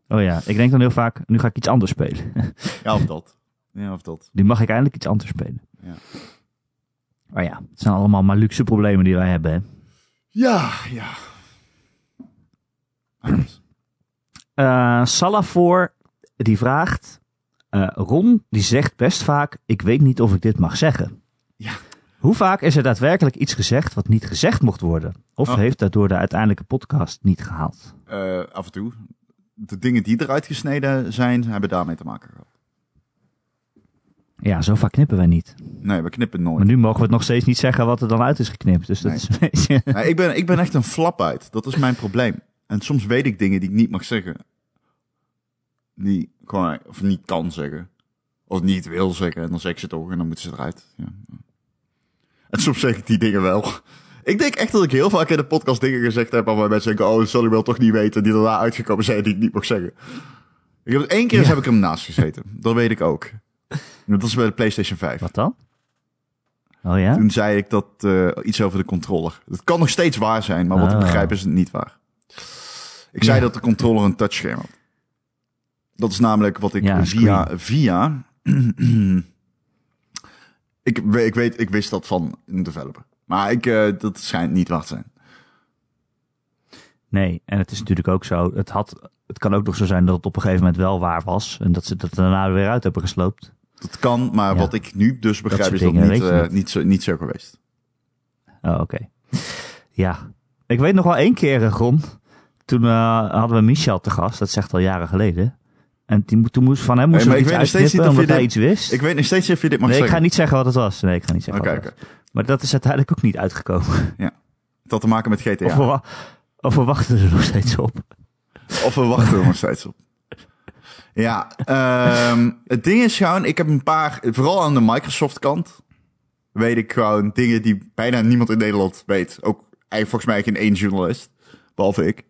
S1: Oh ja, ik denk dan heel vaak, nu ga ik iets anders spelen.
S2: Ja, of dat. Ja, of dat.
S1: nu mag ik eindelijk iets anders spelen.
S2: Ja.
S1: Maar ja, het zijn allemaal maar luxe problemen die wij hebben. Hè?
S2: Ja, ja. Anders.
S1: Eh, Salafor, die vraagt... eh, Ron, die zegt best vaak, ik weet niet of ik dit mag zeggen.
S2: Ja.
S1: Hoe vaak is er daadwerkelijk iets gezegd wat niet gezegd mocht worden? Of
S2: Oh.
S1: heeft daardoor de uiteindelijke podcast niet gehaald?
S2: Eh, af en toe. De dingen die eruit gesneden zijn, hebben daarmee te maken gehad.
S1: Ja, zo vaak knippen wij niet.
S2: Nee, we knippen nooit.
S1: Maar nu mogen we het nog steeds niet zeggen wat er dan uit is geknipt. Dus dat
S2: Nee.
S1: is een beetje...
S2: Ja, ik, ben, ik ben echt een flap uit. Dat is mijn probleem. En soms weet ik dingen die ik niet mag zeggen. Die gewoon, of niet kan zeggen. Of niet wil zeggen. En dan zeg ik ze toch en dan moeten ze eruit. Ja. En soms zeg ik die dingen wel. Ik denk echt dat ik heel vaak in de podcast dingen gezegd heb waarbij mensen denken, oh, dat zal ik wel toch niet weten. Die daarna uitgekomen zijn die ik niet mag zeggen. Ik heb, één keer dus
S1: Ja.
S2: heb ik hem naast gezeten. Dat weet ik ook. Dat is bij de PlayStation 5.
S1: Wat dan? Oh ja?
S2: Toen zei ik dat eh, iets over de controller. Het kan nog steeds waar zijn, maar wat ik
S1: Ah.
S2: begrijp is het niet waar. Ik zei
S1: Ja.
S2: dat de controller een touchscherm had. Dat is namelijk wat ik
S1: Ja, een
S2: via... via ik, we- ik weet, ik wist dat van een developer. Maar ik, eh, dat schijnt niet waar te zijn.
S1: Nee, en het is natuurlijk ook zo. Het, had, het kan ook nog zo zijn dat het op een gegeven moment wel waar was. En dat ze dat daarna er weer uit hebben gesloopt.
S2: Dat kan, maar
S1: Ja.
S2: wat ik nu dus begrijp
S1: soort
S2: is dat
S1: dingen
S2: niet,
S1: weet je
S2: eh,
S1: niet.
S2: niet, zo, niet zo geweest.
S1: Oh, oké. Ja. Ik weet nog wel één keer, eh, Ron. Toen eh, hadden we Michel te gast. Dat zegt al jaren geleden. En die, mo- toen moest van hem moest
S2: Nee, maar
S1: er
S2: ik
S1: iets
S2: weet nog steeds
S1: uitknippen
S2: niet of
S1: omdat
S2: je
S1: hij
S2: dit-
S1: iets wist.
S2: Ik weet nog steeds niet of je dit mag
S1: nee, ik
S2: zeggen. Oh,
S1: ga niet zeggen wat het was. Nee, ik ga niet zeggen
S2: Oké,
S1: wat het
S2: oké.
S1: was. Maar dat is uiteindelijk ook niet uitgekomen.
S2: Het had te maken met GTA.
S1: Of, we, wa- of we wachten er nog steeds op.
S2: Of we wachten er nog steeds op. Ja, ehm, het ding is gewoon, ik heb een paar, vooral aan de Microsoft kant, weet ik gewoon dingen die bijna niemand in Nederland weet. Ook eigenlijk volgens mij geen één journalist, behalve ik.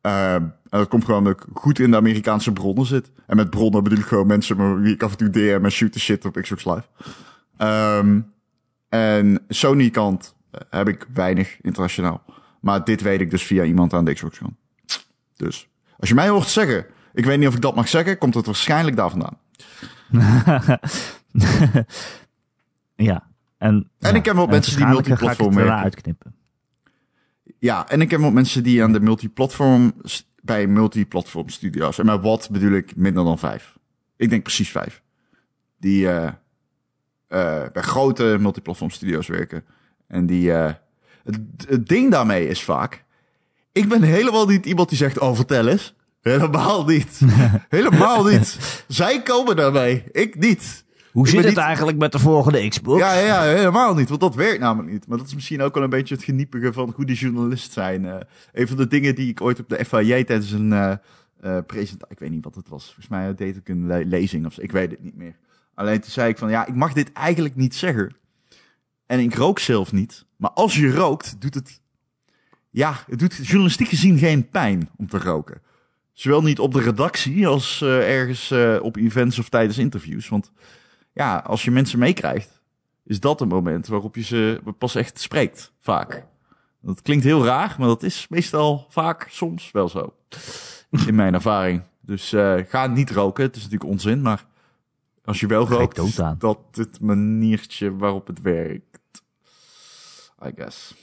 S2: Ehm, en dat komt gewoon omdat ik goed in de Amerikaanse bronnen zit. En met bronnen bedoel ik gewoon mensen met wie ik af en toe DM en shoot the shit op Xbox Live. Ehm, en Sony kant eh, heb ik weinig internationaal. Maar dit weet ik dus via iemand aan de Xbox kant. Dus als je mij hoort zeggen, ik weet niet of ik dat mag zeggen, komt het waarschijnlijk daar vandaan.
S1: ja. En,
S2: En ik ken wel mensen die
S1: multiplatform ga ik
S2: multiplatform
S1: het daarna
S2: werken.
S1: uitknippen.
S2: Ja, en ik heb ook mensen die aan de multiplatform, bij multiplatform studio's, en met wat bedoel ik minder dan vijf. Ik denk precies vijf. Die eh, eh, bij grote multiplatform studio's werken. En die, eh, het, het ding daarmee is vaak, ik ben helemaal niet iemand die zegt, oh vertel eens. Helemaal niet. Helemaal niet. Zij komen daarmee, ik niet.
S1: Hoe
S2: Ik
S1: zit
S2: ben
S1: het
S2: niet-
S1: eigenlijk met de volgende Xbox?
S2: Ja, ja, ja, helemaal niet. Want dat werkt namelijk niet. Maar dat is misschien ook wel een beetje het geniepige van goede journalist zijn. Eh, een van de dingen die ik ooit op de FIJ tijdens een eh, eh, presentatie... Ik weet niet wat het was. Volgens mij deed ik een le- lezing of zo. Ik weet het niet meer. Alleen toen zei ik van, ja, ik mag dit eigenlijk niet zeggen. En ik rook zelf niet. Maar als je rookt, doet het... Ja, het doet journalistiek gezien geen pijn om te roken. Zowel niet op de redactie als eh, ergens eh, op events of tijdens interviews. Want ja, als je mensen meekrijgt, is dat een moment waarop je ze pas echt spreekt, vaak. Dat klinkt heel raar, maar dat is meestal vaak, soms wel zo. In mijn ervaring. Dus eh, ga niet roken, het is natuurlijk onzin, maar als je wel
S1: Ga je
S2: rookt,
S1: dood
S2: is
S1: aan.
S2: dat het maniertje waarop het werkt. I guess.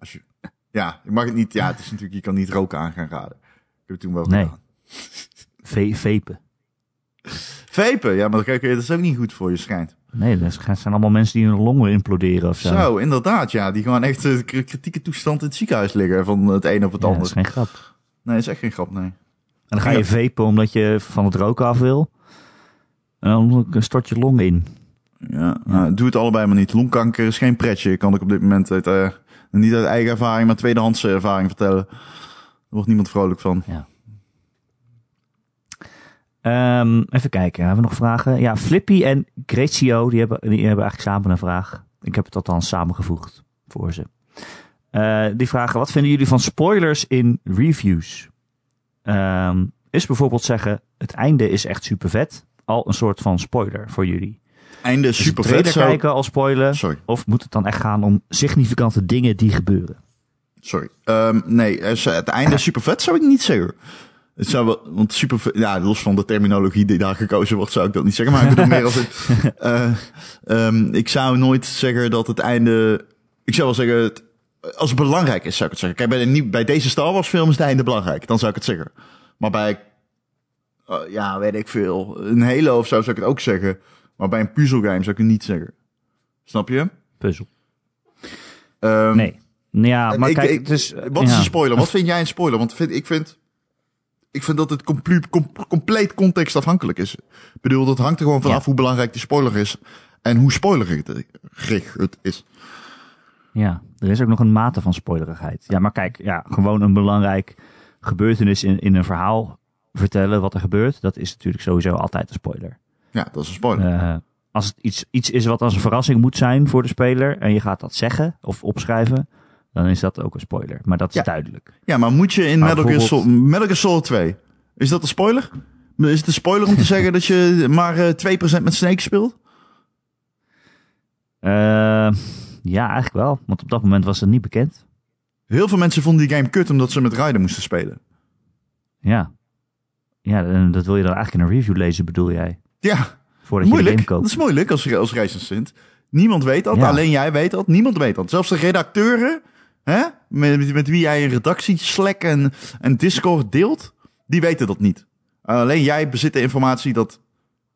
S2: Als je, ja, je mag het niet, ja, het is natuurlijk, je kan niet roken aan gaan raden. Ik heb het toen wel
S1: Nee.
S2: gedaan.
S1: Ve- Vepen.
S2: Vapen, ja, maar dat dat is ook niet goed voor je schijnt.
S1: Nee, dat zijn allemaal mensen die hun longen imploderen of zo. Ja,
S2: Zo, inderdaad, ja. Die gewoon echt eh, k- kritieke toestand in het ziekenhuis liggen van het een op het
S1: dat
S2: ander.
S1: is geen grap.
S2: Nee, is echt geen grap, nee.
S1: En dan ga je
S2: Ja.
S1: vepen omdat je van het roken af wil. En dan stort je long in.
S2: Ja, nou, doe het allebei maar niet. Longkanker is geen pretje, kan ik op dit moment uit, eh, niet uit eigen ervaring, maar tweedehands eh, ervaring vertellen. Daar wordt niemand vrolijk van.
S1: Ehm, even kijken, hebben we nog vragen? Ja, Flippy en Grecio, die hebben, die hebben eigenlijk samen een vraag. Ik heb het althans samengevoegd voor ze. Eh, die vragen, wat vinden jullie van spoilers in reviews? Ehm, is bijvoorbeeld zeggen, het einde is echt super vet. Al een soort van spoiler voor jullie.
S2: Einde
S1: Dus de
S2: super
S1: trailer
S2: vet. Zo...
S1: kijken al spoiler.
S2: Sorry,
S1: Of moet het dan echt gaan om significante dingen die gebeuren?
S2: sorry. Ehm, nee, eh, zo- het einde super vet zou ik niet zeggen. Het zou wel, want super, vet- ja, los van de terminologie die daar gekozen wordt, zou ik dat niet zeggen. Maar ik bedoel meer als het, Eh, ehm, ik zou nooit zeggen dat het einde. Ik zou wel zeggen, het, als het belangrijk is, zou ik het zeggen. Kijk, bij, de, nieuw- bij deze Star Wars film is het einde belangrijk. Dan zou ik het zeggen. Maar bij, eh, ja, weet ik veel, een Halo of zo zou ik het ook zeggen. Maar bij een puzzelgame zou ik het niet zeggen. Snap je?
S1: Puzzel.
S2: Ehm,
S1: Nee. Ja, maar
S2: ik-
S1: kijk,
S2: ik-
S1: het is...
S2: Wat is
S1: ja.
S2: een spoiler? Wat vind jij een spoiler? Want vind, ik vind. Ik vind dat het complu- com- compleet contextafhankelijk is. Ik bedoel, dat hangt er gewoon vanaf
S1: Ja.
S2: hoe belangrijk die spoiler is. En hoe spoilerig het is.
S1: Ja, er is ook nog een mate van spoilerigheid. Ja, maar kijk, ja, gewoon een belangrijk gebeurtenis in, in een verhaal vertellen wat er gebeurt, dat is natuurlijk sowieso altijd een spoiler.
S2: Ja, dat is een spoiler.
S1: Eh, als het iets, iets is wat als een verrassing moet zijn voor de speler en je gaat dat zeggen of opschrijven, dan is dat ook een spoiler. Maar dat is
S2: Ja.
S1: duidelijk.
S2: Ja, maar moet je in
S1: Maar
S2: Metal Gear,
S1: bijvoorbeeld-
S2: Solid, Metal Gear Solid 2, is dat een spoiler? Is het een spoiler om te zeggen dat je maar eh, 2% met Snake speelt?
S1: Eh, ja, eigenlijk wel. Want op dat moment was het niet bekend.
S2: Heel veel mensen vonden die game kut omdat ze met Raiden moesten spelen.
S1: Ja. Ja, en dat wil je dan eigenlijk in een review lezen, bedoel jij?
S2: Ja,
S1: Voordat je de
S2: moeilijk.
S1: game
S2: Dat
S1: koopt.
S2: is moeilijk als, als Racing Sint. Niemand weet dat,
S1: Ja.
S2: alleen jij weet dat, niemand weet dat. Zelfs de redacteuren, hè, met, met wie jij een redactie Slack en, en Discord deelt, die weten dat niet. alleen jij bezit de informatie dat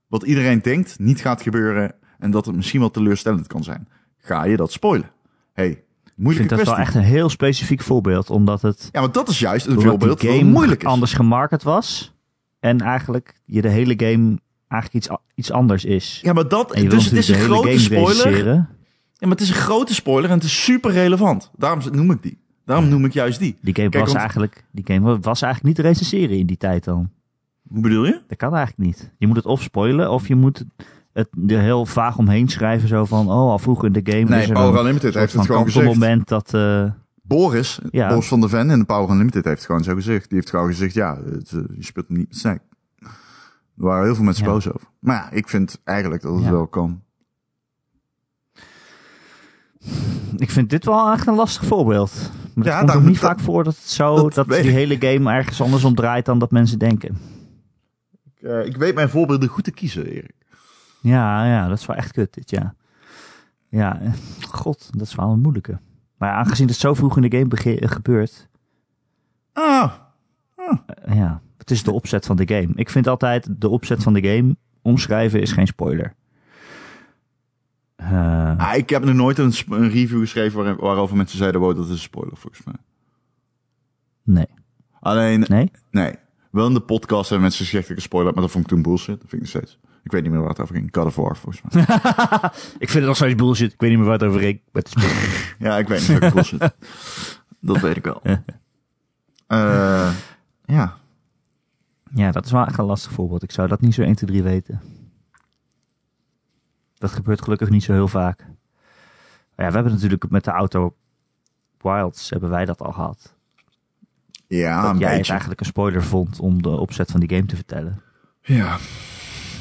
S2: wat iedereen denkt niet gaat gebeuren en dat het misschien wel teleurstellend kan zijn. Ga je dat spoilen? hey,
S1: Ik vind
S2: moeilijke
S1: dat wel
S2: kwestie.
S1: echt een heel specifiek voorbeeld, omdat het
S2: Ja, want dat is juist een
S1: Omdat
S2: voorbeeld
S1: die
S2: van
S1: game
S2: hoe moeilijk is.
S1: anders gemarket was. En eigenlijk je de hele game eigenlijk iets, a- iets anders is.
S2: Ja, maar dat,
S1: En je wil
S2: dus het is een
S1: natuurlijk de
S2: grote
S1: hele game
S2: spoiler.
S1: recenseren.
S2: Ja, maar het is een grote spoiler en het is super relevant. Daarom noem ik die. Daarom noem ik juist die.
S1: Die game,
S2: Kijk,
S1: was
S2: want-
S1: eigenlijk, die game wa- was eigenlijk niet te recenseren in die tijd dan.
S2: Hoe bedoel je?
S1: Dat kan eigenlijk niet. Je moet het of spoilen of je moet het er heel vaag omheen schrijven. Zo van, oh, al vroeg in de game is
S2: Nee,
S1: er
S2: Power
S1: een
S2: Unlimited heeft het
S1: soort
S2: gewoon
S1: van
S2: gezegd.
S1: moment dat... eh,
S2: Boris,
S1: Ja.
S2: Boris van der Ven in de Power Unlimited heeft het gewoon zo gezegd. Die heeft gewoon gezegd, ja, het, eh, je speelt niet met Snake. Er waren heel veel mensen
S1: Ja.
S2: boos over. Maar ja, ik vind eigenlijk dat het
S1: Ja.
S2: wel kan.
S1: ik vind dit wel echt een lastig voorbeeld. Maar
S2: Ja,
S1: het komt
S2: daarom-
S1: ook niet
S2: dat-
S1: vaak voor dat het zo
S2: dat
S1: dat,
S2: weet
S1: die
S2: ik.
S1: hele game ergens anders om draait dan dat mensen denken.
S2: Ik, eh, ik weet mijn voorbeelden goed te kiezen, Erik.
S1: Ja, ja, dat is wel echt kut dit, ja. Ja, eh, god, dat is wel een moeilijke. Maar ja, aangezien het zo vroeg in de game bege- eh, gebeurt,
S2: Ah,
S1: eh, ja, het is de opzet van de game. Ik vind altijd de opzet van de game omschrijven is geen spoiler. Eh,
S2: ah, ik heb nog nooit een, sp- een review geschreven waar- waarover mensen zeiden, wow, dat is een spoiler volgens mij.
S1: nee,
S2: Alleen,
S1: nee.
S2: Nee. Wel in de podcast hebben mensen gezegd dat ik een spoiler had, maar dat vond ik toen bullshit. Dat vind ik nog steeds. Ik weet niet meer waar het over ging. God of War, volgens mij.
S1: Ik vind het nog steeds bullshit. Ik weet niet meer waar het over ging. maar het is-
S2: ja, ik weet niet meer bullshit. Dat weet ik wel. Eh, ja.
S1: Ja, dat is wel echt een lastig voorbeeld. Ik zou dat niet zo 1, 2, 3 weten. Dat gebeurt gelukkig niet zo heel vaak. Maar ja, we hebben natuurlijk met de auto Wilds hebben wij dat al gehad.
S2: Ja,
S1: dat
S2: Ah, een
S1: jij het
S2: beetje.
S1: eigenlijk een spoiler vond om de opzet van die game te vertellen.
S2: Ja.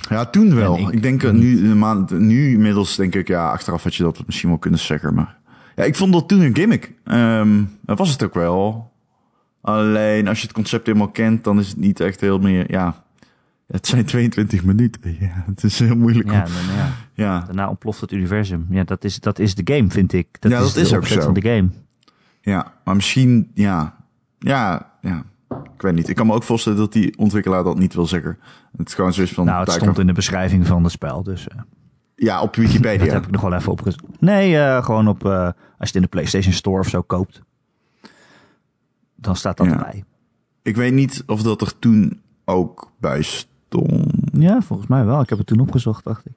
S2: Ja, toen wel.
S1: En
S2: Ik,
S1: ik Mm.
S2: denk eh, nu, een maand, nu inmiddels denk ik, ja, achteraf had je dat misschien wel kunnen zeggen, maar... Ja, ik vond dat toen een gimmick. Ehm, dat was het ook wel. Alleen, als je het concept helemaal kent, dan is het niet echt heel meer, ja... Het zijn 22 minuten. Ja, het is heel moeilijk. om-
S1: Ja, en dan, ja,
S2: ja.
S1: daarna ontploft het universum. Ja, dat is, dat is de game, vind ik. Dat
S2: Ja, dat
S1: de
S2: is ook
S1: opzet
S2: zo.
S1: van de game.
S2: Ja, maar misschien, ja. Ja, ja. Ik weet niet. Ik kan me ook voorstellen dat die ontwikkelaar dat niet wil zeggen. Het is gewoon zoiets van...
S1: Nou, het
S2: kijk,
S1: stond in de beschrijving van het spel, dus... eh,
S2: Ja, op
S1: Dat
S2: Wikipedia.
S1: heb ik nog wel even opgezocht. Nee, eh, gewoon op eh, als je het in de PlayStation Store of zo koopt. Dan staat dat
S2: Ja.
S1: erbij.
S2: Ik weet niet of dat er toen ook bij stond.
S1: Ja, volgens mij wel. Ik heb het toen opgezocht, dacht ik.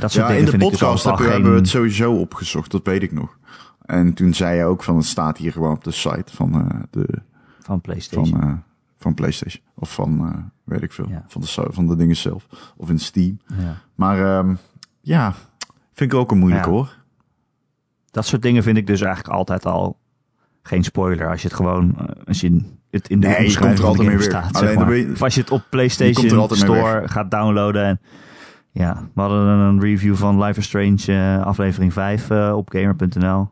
S1: Dat soort
S2: Ja,
S1: dingen
S2: in de
S1: vind
S2: podcast
S1: ik dus altijd al
S2: hebben we-
S1: geen-
S2: hebben we het sowieso opgezocht. Dat weet ik nog. En toen zei je ook van... Het staat hier gewoon op de site van, eh, de,
S1: van
S2: van,
S1: PlayStation.
S2: eh, van PlayStation. Of van, eh, weet ik veel.
S1: Ja.
S2: Van, de, so- van de dingen zelf. Of in Steam.
S1: ja.
S2: Maar ehm, ja, vind ik ook een moeilijke
S1: Ja.
S2: hoor.
S1: Dat soort dingen vind ik dus eigenlijk altijd al geen spoiler. Als je het gewoon, eh, als je het in de
S2: Nee, je
S1: omschrijving
S2: komt er
S1: van de game
S2: altijd mee weg.
S1: staat,
S2: Alleen
S1: zeg
S2: dan
S1: maar.
S2: ben je-
S1: Of als je het op
S2: je komt er
S1: PlayStation
S2: altijd mee
S1: Store gaat downloaden. En, ja, we hadden een review van Life is Strange eh, aflevering 5 eh, op gamer.nl.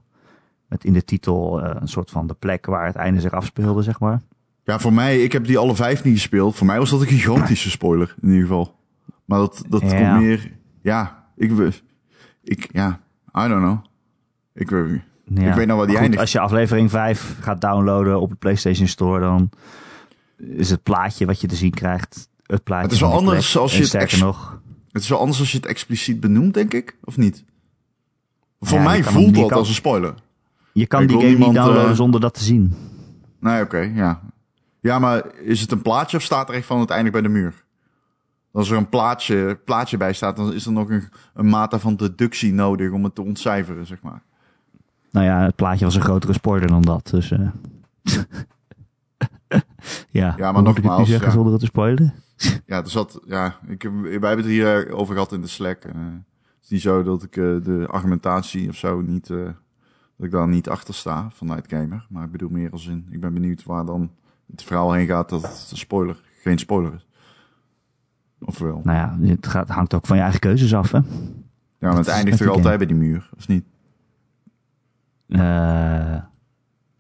S1: Met in de titel eh, een soort van de plek waar het einde zich afspeelde, zeg maar.
S2: Ja, voor mij, ik heb die alle vijf niet gespeeld. Voor mij was dat een gigantische spoiler, in ieder geval. Maar dat, dat
S1: Ja.
S2: komt meer... Ja, ik... Ik, ja, I don't know. Ik, weet-
S1: Ja.
S2: Ik weet nou waar die
S1: Maar goed,
S2: eindigt.
S1: Als je aflevering 5 gaat downloaden op de PlayStation Store, dan is het plaatje wat je te zien krijgt. Het plaatje.
S2: Het is wel
S1: van die plek.
S2: anders als je
S1: En
S2: het
S1: sterker
S2: ex-
S1: nog.
S2: het is wel anders als je het expliciet benoemt, denk ik. Of niet? Voor
S1: Ja,
S2: mij
S1: je kan hem-
S2: voelt
S1: je
S2: dat
S1: kan-
S2: als een spoiler.
S1: Je kan
S2: Ik
S1: die
S2: wil
S1: game niet
S2: niemand, eh,
S1: downloaden zonder dat te zien.
S2: Nee, oké, ja. Ja, maar is het een plaatje of staat er echt van uiteindelijk bij de muur? Als er een plaatje, plaatje bij staat, dan is er nog een, een mate van deductie nodig om het te ontcijferen, zeg maar.
S1: Nou ja, het plaatje was een grotere spoiler dan dat. Dus. eh, ja, hoe
S2: maar
S1: moet ik het nu
S2: nogmaals,
S1: zeggen
S2: ja.
S1: zonder het te spoilen.
S2: Ja, er zat, ja ik, heb- wij hebben het hier eh, over gehad in de Slack. en, eh, het is niet zo dat ik eh, de argumentatie of zo niet, eh, dat ik daar niet achter sta vanuit Gamer. Maar ik bedoel meer als in, ik ben benieuwd waar dan het verhaal heen gaat dat het een spoiler, geen spoiler is. Of wel?
S1: Nou ja, het, gaat, hangt ook van je eigen keuzes af. Hè?
S2: ja, maar het
S1: is
S2: eindigt
S1: met
S2: toch
S1: die
S2: altijd bij die muur, of niet?
S1: Eh,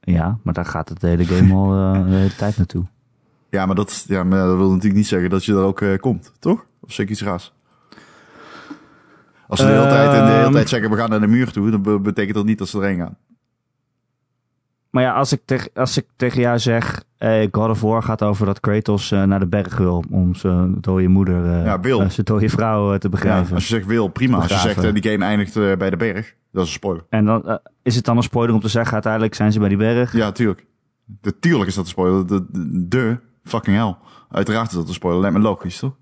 S1: ja, maar daar gaat het hele game al eh, de hele tijd naartoe.
S2: Ja, maar dat, ja, maar dat wil natuurlijk niet zeggen dat je er ook eh, komt, toch? Of zeg ik iets raars? Als ze de hele tijd, en de hele
S1: Ehm.
S2: tijd zeggen, we gaan naar de muur toe, dan be- betekent dat niet dat ze erheen gaan.
S1: Maar ja, als ik, teg- als ik tegen jou zeg... eh, God of War gaat over dat Kratos eh, naar de berg wil... om zijn dode moeder, eh,
S2: Ja, wil.
S1: eh, zijn dode vrouw eh, te
S2: Ja,
S1: begraven.
S2: als je zegt wil, prima. Als je
S1: Begraven.
S2: zegt eh, die game eindigt eh, bij de berg, dat is een spoiler.
S1: En dan eh, is het dan een spoiler om te zeggen... uiteindelijk zijn ze bij die berg.
S2: Ja, tuurlijk. De, tuurlijk is dat een spoiler. De, de, de fucking hell. Uiteraard is dat een spoiler. Lijkt me logisch, toch?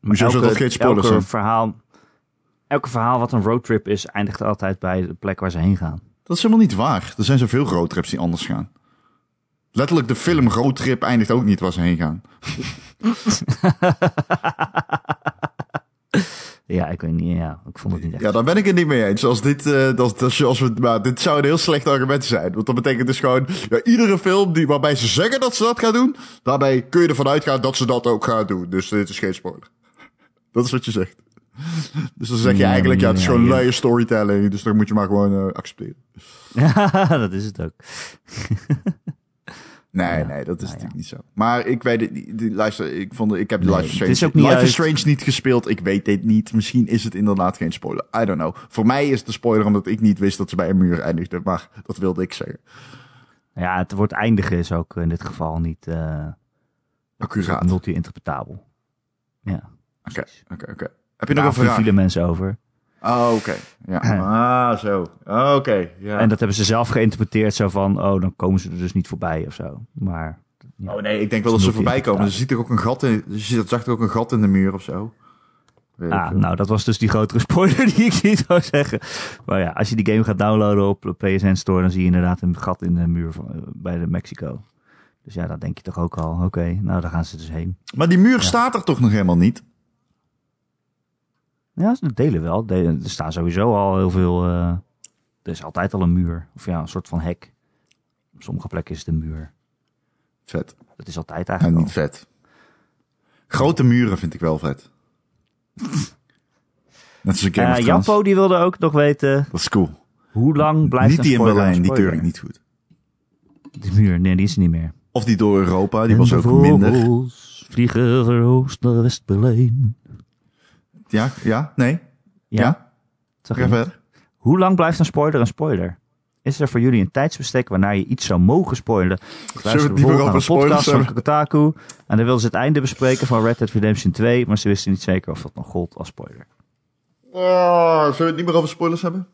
S1: Maar
S2: Hoezo zou dat geen spoiler
S1: elke
S2: zijn?
S1: Verhaal, elke verhaal wat een roadtrip is... eindigt altijd bij de plek waar ze heen gaan.
S2: Dat is helemaal niet waar. Er zijn zoveel roadtrips die anders gaan. Letterlijk de film Roadtrip eindigt ook niet waar ze heen gaan.
S1: Ja, ik weet niet. Ja, ik vond het niet echt.
S2: Ja, daar ben ik het niet mee eens. Als dit, eh als, als, als we, maar dit zou een heel slecht argument zijn. Want dat betekent dus gewoon... Ja, iedere film die, waarbij ze zeggen dat ze dat gaan doen... daarbij kun je ervan uitgaan dat ze dat ook gaan doen. Dus dit is geen spoiler. Dat is wat je zegt. Dus dan zeg je
S1: Ja,
S2: eigenlijk... Ja, het is
S1: ja,
S2: gewoon
S1: ja.
S2: luie storytelling. Dus dan moet je maar gewoon eh, accepteren.
S1: dat is het ook.
S2: Nee, nee, dat is natuurlijk niet zo. Maar ik weet het niet. Die, luister, ik, vond, ik heb de
S1: Nou Nee,
S2: Life is
S1: het
S2: Strange,
S1: is ook niet
S2: Life
S1: uit-
S2: is Strange niet gespeeld. Ik weet dit niet. Misschien is het inderdaad geen spoiler. I don't know. Voor mij is het een spoiler omdat ik niet wist dat ze bij een muur eindigde. Maar dat wilde ik zeggen.
S1: Ja, het woord eindigen is ook in dit geval niet eh
S2: Accuraat. Oké,
S1: multi-interpretabel. Ja.
S2: oké, oké. Heb je nog
S1: Daar
S2: een vraag?
S1: vielen mensen over.
S2: Oh, oké. Ja. Ah, zo. oké. ja.
S1: En dat hebben ze zelf geïnterpreteerd zo van... oh, dan komen ze er dus niet voorbij of zo. Maar
S2: Oh nee, ik denk wel dat ze voorbij komen. Ze ziet er ook een gat in. Ze ziet- zag er ook een gat in de muur of zo. Weet ik
S1: Ah,
S2: veel.
S1: nou, dat was dus die grotere spoiler die ik niet zou zeggen. Maar ja, als je die game gaat downloaden op de PSN Store, dan zie je inderdaad een gat in de muur van, eh, bij de Mexico. Dus ja, dan denk je toch ook al, oké, nou, daar gaan ze dus heen.
S2: Maar die muur staat er toch nog helemaal niet?
S1: Ja, ze delen wel. Delen- er staan sowieso al heel veel... eh, er is altijd al een muur. Of ja, een soort van hek. Op sommige plekken is het een muur.
S2: Vet.
S1: Dat is altijd
S2: En
S1: eigenlijk
S2: Nou, niet vet. Grote muren vind ik wel vet. Net als
S1: al.
S2: een Game of
S1: Eh,
S2: Thrones.
S1: Jappo die wilde ook nog weten,
S2: Dat is cool.
S1: hoe lang blijft
S2: Niet
S1: een
S2: die in
S1: spoiler
S2: Berlijn,
S1: een
S2: die keur
S1: spoiler?
S2: ik niet goed.
S1: Die muur, nee, die is er niet meer.
S2: Of die door Europa, die
S1: En
S2: was
S1: de
S2: ook minder.
S1: vogels vliegen van Oost naar West-Berlijn.
S2: Ja, ja, nee.
S1: Ja,
S2: Ja,
S1: zag
S2: ga
S1: je?
S2: verder.
S1: Hoe lang blijft een spoiler een spoiler? Is er voor jullie een tijdsbestek waarna je iets zou mogen spoilen? Ik
S2: Zullen we
S1: luisterde
S2: het niet meer
S1: bijvoorbeeld naar
S2: over
S1: een
S2: spoilers
S1: podcast van
S2: hebben?
S1: Kotaku. En daar wilden ze het einde bespreken van Red Dead Redemption 2. Maar ze wisten niet zeker of dat nog gold als spoiler.
S2: Oh, zullen we het niet meer over spoilers hebben?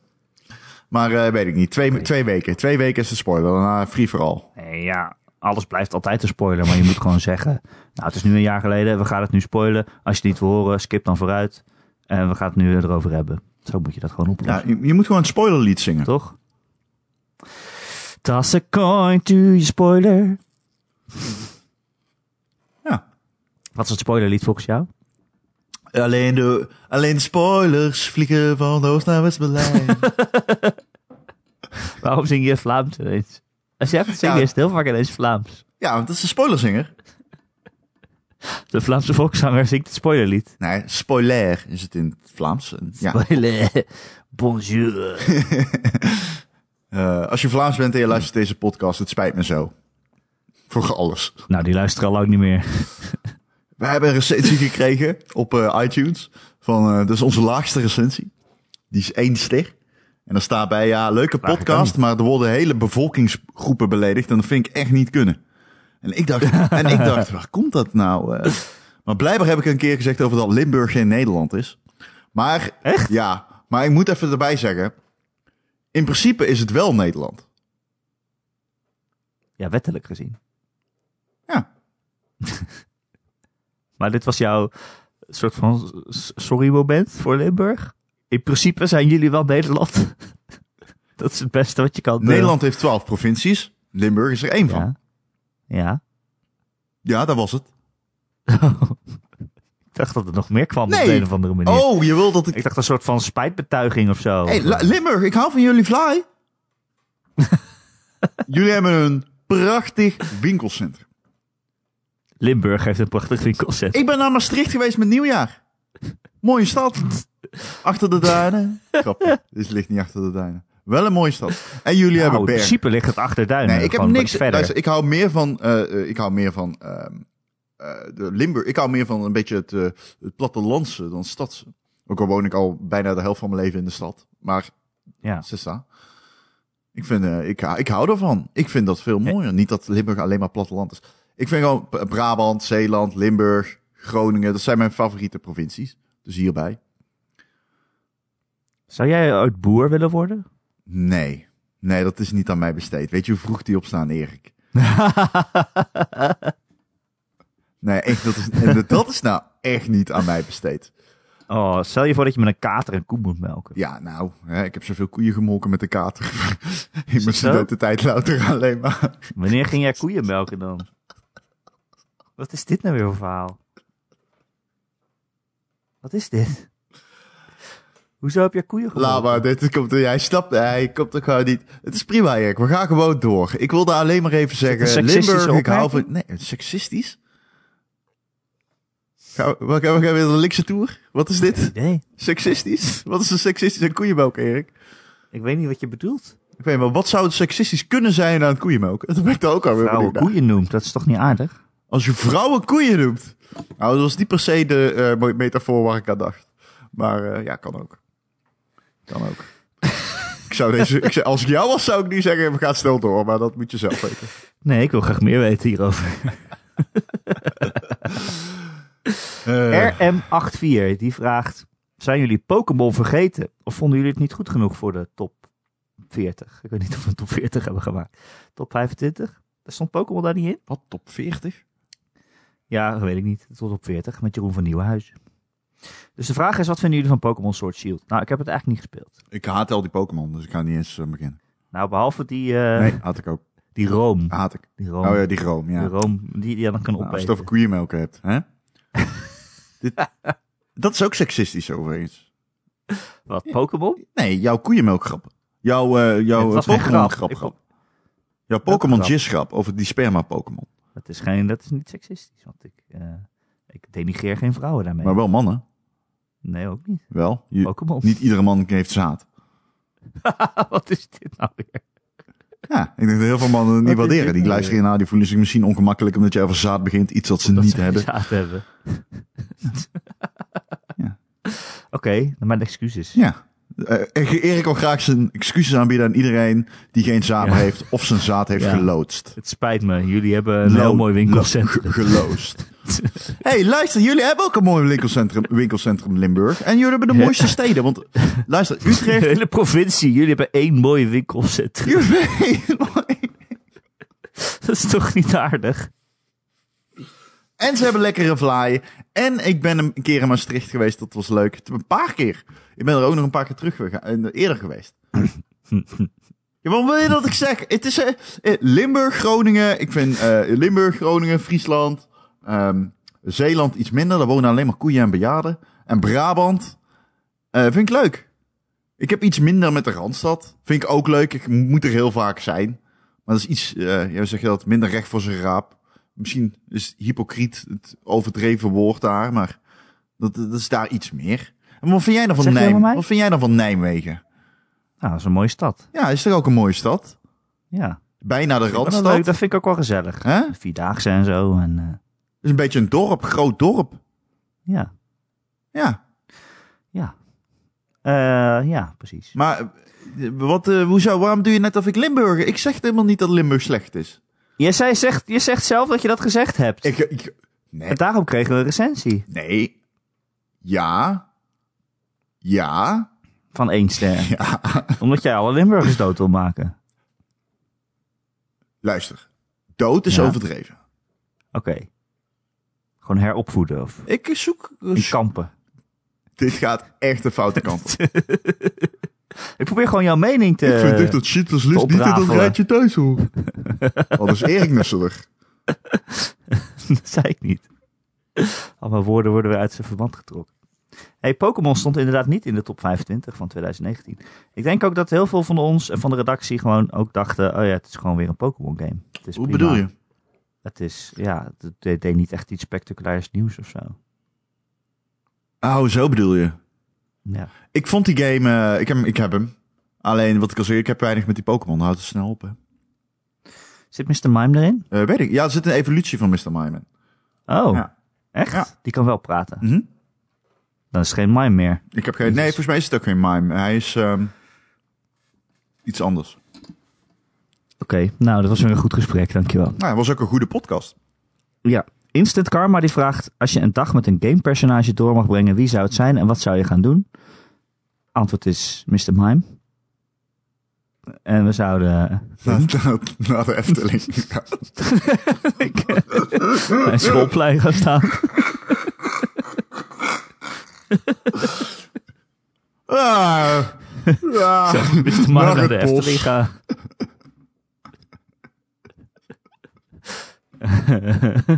S2: Maar eh, weet ik niet. Twee, twee weken. Twee weken is de spoiler. Daarna free for all.
S1: Eh, ja, alles blijft altijd een spoiler. Maar je moet gewoon zeggen... Nou, het is nu een jaar geleden. We gaan het nu spoilen. Als je het niet wil horen, skip dan vooruit. En we gaan het nu erover hebben. Zo moet je dat gewoon oplossen.
S2: Ja, je, je moet gewoon een spoilerlied zingen.
S1: Toch? Toss a coin to je spoiler.
S2: Ja.
S1: Wat is het spoilerlied volgens jou?
S2: Alleen de, alleen de spoilers vliegen van Oost naar West-Berlijn.
S1: Waarom zing je Vlaams ineens? Als jij het zingen
S2: Ja.
S1: is het heel vaak ineens Vlaams.
S2: ja, want dat is een spoilerzinger.
S1: De Vlaamse volkszanger zingt het spoilerlied.
S2: Nee, spoiler is het in het Vlaams. En Ja.
S1: Spoiler. Bonjour.
S2: Eh, als je Vlaams bent en je luistert deze podcast, het spijt me zo. Voor alles.
S1: nou, die luisteren al lang niet meer.
S2: We hebben een recensie gekregen op eh, iTunes. Van, eh dat is onze laagste recensie. Die is één ster. En dan staat bij, ja, leuke
S1: kan
S2: podcast, maar er worden hele bevolkingsgroepen beledigd. En dat vind ik echt niet kunnen. En ik dacht, en ik dacht waar komt dat nou? eh? Maar blijkbaar heb ik een keer gezegd over dat Limburg geen Nederland is. Maar, echt? Ja, maar ik moet even erbij zeggen. In principe is het wel Nederland.
S1: Ja, wettelijk gezien.
S2: Ja.
S1: Maar dit was jouw soort van s- sorry moment voor Limburg. In principe zijn jullie wel Nederland. dat is het beste wat je kan doen.
S2: Nederland heeft twaalf provincies. Limburg is er één van.
S1: Ja. ja.
S2: Ja, dat was het.
S1: Ik dacht dat het nog meer kwam op
S2: Nee.
S1: de een of andere manier.
S2: Oh, je wil dat ik...
S1: Ik dacht een soort van spijtbetuiging of zo.
S2: Hey, La- Limburg, ik hou van jullie fly. jullie hebben een prachtig winkelcentrum.
S1: Limburg heeft een prachtig winkelcentrum.
S2: Ik ben naar Maastricht geweest met nieuwjaar. Mooie stad. Achter de duinen. Grapje, dit ligt niet achter de duinen. Wel een mooie stad. En jullie
S1: Nou,
S2: hebben
S1: in
S2: bergen.
S1: principe ligt het achter Duinen.
S2: Nee, ik heb
S1: gewoon wat
S2: niks.
S1: verder.
S2: Luister, ik hou meer van. eh, eh, ik hou meer van. ehm, eh, de Limburg. Ik hou meer van een beetje het, eh, het plattelandse dan het stadse. Ook al woon ik al bijna de helft van mijn leven in de stad. Maar.
S1: Ja.
S2: Sessa. Ik, vind, eh, ik, hou- ik hou ervan. Ik vind dat veel mooier. Niet dat Limburg alleen maar platteland is. Ik vind gewoon P- Brabant, Zeeland, Limburg, Groningen. Dat zijn mijn favoriete provincies. Dus hierbij.
S1: Zou jij uit boer willen worden?
S2: Nee. Nee, dat is niet aan mij besteed. Weet je hoe vroeg die opstaan, Erik? Nee, echt, dat is, en dat is nou echt niet aan mij besteed.
S1: oh, stel je voor dat je met een kater een koe moet melken.
S2: Ja, nou, hè, ik heb zoveel koeien gemolken met de kater. in
S1: zo?
S2: mijn studententijd louter alleen maar.
S1: Wanneer ging jij koeien melken dan? Wat is dit nou weer voor verhaal? Wat is dit? Hoezo heb jij koeien gemelkt?
S2: Laat maar, dit komt er, jij snapt, hij komt er gewoon niet. Het is prima, Erik, we gaan gewoon door. Ik wilde alleen maar even
S1: het een
S2: zeggen,
S1: seksistische
S2: Limburg, ik hou van...
S1: opmerking?
S2: Nee, seksistisch? Gaan we, we gaan we gaan weer de linkse toer? Wat is dit?
S1: Nee,
S2: Seksistisch? Wat is een seksistische koeienmelk, Erik?
S1: ik weet niet wat je bedoelt.
S2: Ik weet wel, wat zou het seksistisch kunnen zijn aan het koeienmelk? Dat ben ik daar ook alweer
S1: Vrouwen
S2: benieuwd naar.
S1: koeien noemt, dat is toch niet aardig?
S2: Als je vrouwen koeien noemt. Nou, dat was niet per se de eh, mo- metafoor waar ik aan dacht. Maar eh, ja, kan ook. Kan ook. ik zou deze, ik zou, als ik jou was, zou ik nu zeggen, we gaan snel door. Maar dat moet je zelf weten.
S1: Nee, ik wil graag meer weten hierover.
S2: Eh,
S1: RM84, die vraagt... Zijn jullie Pokémon vergeten? Of vonden jullie het niet goed genoeg voor de top 40? Ik weet niet of we een top 40 hebben gemaakt. Top 25? Daar stond Pokémon daar niet in?
S2: wat, top 40?
S1: Ja, dat weet ik niet. Tot op 40 met Jeroen van Nieuwenhuizen. Dus de vraag is, wat vinden jullie van Pokémon Sword Shield? Nou, ik heb het eigenlijk niet gespeeld.
S2: Ik haat al die Pokémon, dus ik ga niet eens eh, beginnen.
S1: Nou, behalve die, eh,
S2: Nee, haat ik ook.
S1: die room.
S2: Haat ik.
S1: Die room,
S2: Oh ja, die groom, ja.
S1: die, room die je dan kan
S2: Nou, als je
S1: opeten.
S2: het over koeienmelk hebt, hè? Dit, dat is ook seksistisch overigens.
S1: Wat, Pokémon?
S2: Nee, jouw koeienmelkgrap. Jouw, eh jouw
S1: Het was
S2: eh,
S1: geen grap.
S2: Pokémon-grap.
S1: Ik
S2: grap.
S1: vond-
S2: Jouw Pokémon
S1: grap?
S2: Jizz-grap over die sperma-Pokémon.
S1: Dat is, geen, dat is niet seksistisch, want ik, eh, ik denigreer geen vrouwen daarmee.
S2: Maar wel mannen.
S1: Nee, ook niet.
S2: Wel. Je-
S1: Pokémon.
S2: niet iedere man heeft zaad.
S1: wat is dit nou weer?
S2: Ja, ik denk dat heel veel mannen het niet
S1: Wat is dit
S2: waarderen. Die
S1: nou
S2: luisteren hiernaar, die voelen zich misschien ongemakkelijk omdat je over zaad begint. Iets wat ze
S1: Dat
S2: niet
S1: ze geen
S2: hebben.
S1: zaad hebben.
S2: Ja.
S1: Oké, dan mijn excuses.
S2: Ja. Eh, Erik wil graag zijn excuses aanbieden aan iedereen die geen zaad
S1: Ja.
S2: heeft of zijn zaad heeft
S1: Ja.
S2: geloodst.
S1: Het spijt me, jullie hebben een heel
S2: Lo-
S1: mooi winkelcentrum.
S2: lo- ge- Geloosd. hey, luister, jullie hebben ook een mooi winkelcentrum, winkelcentrum Limburg. En jullie hebben de mooiste steden. Want luister,
S1: De
S2: Utrecht.
S1: hele provincie. Jullie hebben één mooi winkelcentrum.
S2: Jullie-
S1: Dat is toch niet aardig?
S2: en ze hebben lekkere vlaai. En ik ben een keer in Maastricht geweest. Dat was leuk. Een paar keer. Ik ben er ook nog een paar keer terug gega- eh, eerder geweest. Ja, wat wil je dat ik zeg? Het is eh, eh, Limburg, Groningen. Ik vind eh, Limburg, Groningen, Friesland, ehm, Zeeland iets minder. Daar wonen alleen maar koeien en bejaarden. En Brabant eh, vind ik leuk. Ik heb iets minder met de Randstad. Vind ik ook leuk. Ik moet er heel vaak zijn. Maar dat is iets, eh ja, hoe zeg je dat, minder recht voor zijn raap. Misschien is hypocriet het overdreven woord daar, maar dat, dat is daar iets meer. En wat vind jij dan van,
S1: Zeg je
S2: Nijm-
S1: over mij?
S2: wat vind jij dan van Nijmegen?
S1: Nou, dat is een mooie stad.
S2: Ja, is toch ook een mooie stad?
S1: Ja.
S2: bijna de
S1: Dat, leuk.
S2: randstad.
S1: dat vind ik ook wel gezellig.
S2: Hè? Het
S1: Vierdaagse en zo. En, eh,
S2: is een beetje een dorp, groot dorp.
S1: ja,
S2: Ja,
S1: ja. Eh, ja, precies.
S2: maar eh, wat, eh, hoezo, waarom doe je net of ik Limburger? Ik zeg helemaal niet dat Limburg slecht is.
S1: Je, zei, zegt, je zegt zelf dat je dat gezegd hebt.
S2: Ik, ik- nee,
S1: En daarom kregen we een recensie
S2: nee, ja, ja,
S1: van één ster.
S2: ja.
S1: Omdat jij alle Limburgers dood wil maken.
S2: Luister, dood is
S1: Ja.
S2: overdreven.
S1: Oké. Gewoon heropvoeden of
S2: Ik zoek...
S1: in kampen.
S2: Dit gaat echt de foute kant op.
S1: Ik probeer gewoon jouw mening te...
S2: ik vind echt dat shit als list niet in dat
S1: oprafelen.
S2: rijtje thuis hoor. Wat is Erik nusselig.
S1: dat zei ik niet. Al mijn woorden worden weer uit zijn verband getrokken. Hey, Pokémon stond inderdaad niet in de top 25 van 2019. Ik denk ook dat heel veel van ons en van de redactie gewoon ook dachten... oh ja, het is gewoon weer een Pokémon game. Het is
S2: Hoe
S1: prima.
S2: bedoel je?
S1: Het is, ja, het deed deed niet echt iets spectaculairs nieuws of zo.
S2: Oh, zo bedoel je.
S1: Ja.
S2: Ik vond die game... eh, ik, heb, hem- ik heb hem. Alleen, wat ik al zei, ik heb weinig met die Pokémon. Houdt het snel op, hè.
S1: Zit Mr. Mime erin?
S2: Eh, weet ik. Ja, er zit een evolutie van Mr. Mime in.
S1: Oh,
S2: Ja.
S1: echt?
S2: Ja.
S1: Die kan wel praten.
S2: Mhm.
S1: Dan is het geen mime meer.
S2: Ik heb geen... Nee, volgens mij is het ook geen Mime. Hij is... ehm, iets anders.
S1: Oké, nou, dat was weer een goed gesprek, dankjewel.
S2: Nou, het was ook een goede podcast.
S1: Ja, Instant Karma die vraagt... als je een dag met een gamepersonage door mag brengen... wie zou het zijn en wat zou je gaan doen? Antwoord is Mr. Mime. En we zouden... eh,
S2: Na, na, na de Efteling.
S1: bij een schoolplein gaan staan.
S2: Ah, ah.
S1: Mr. Mime naar de
S2: het bos.
S1: Efteling gaan.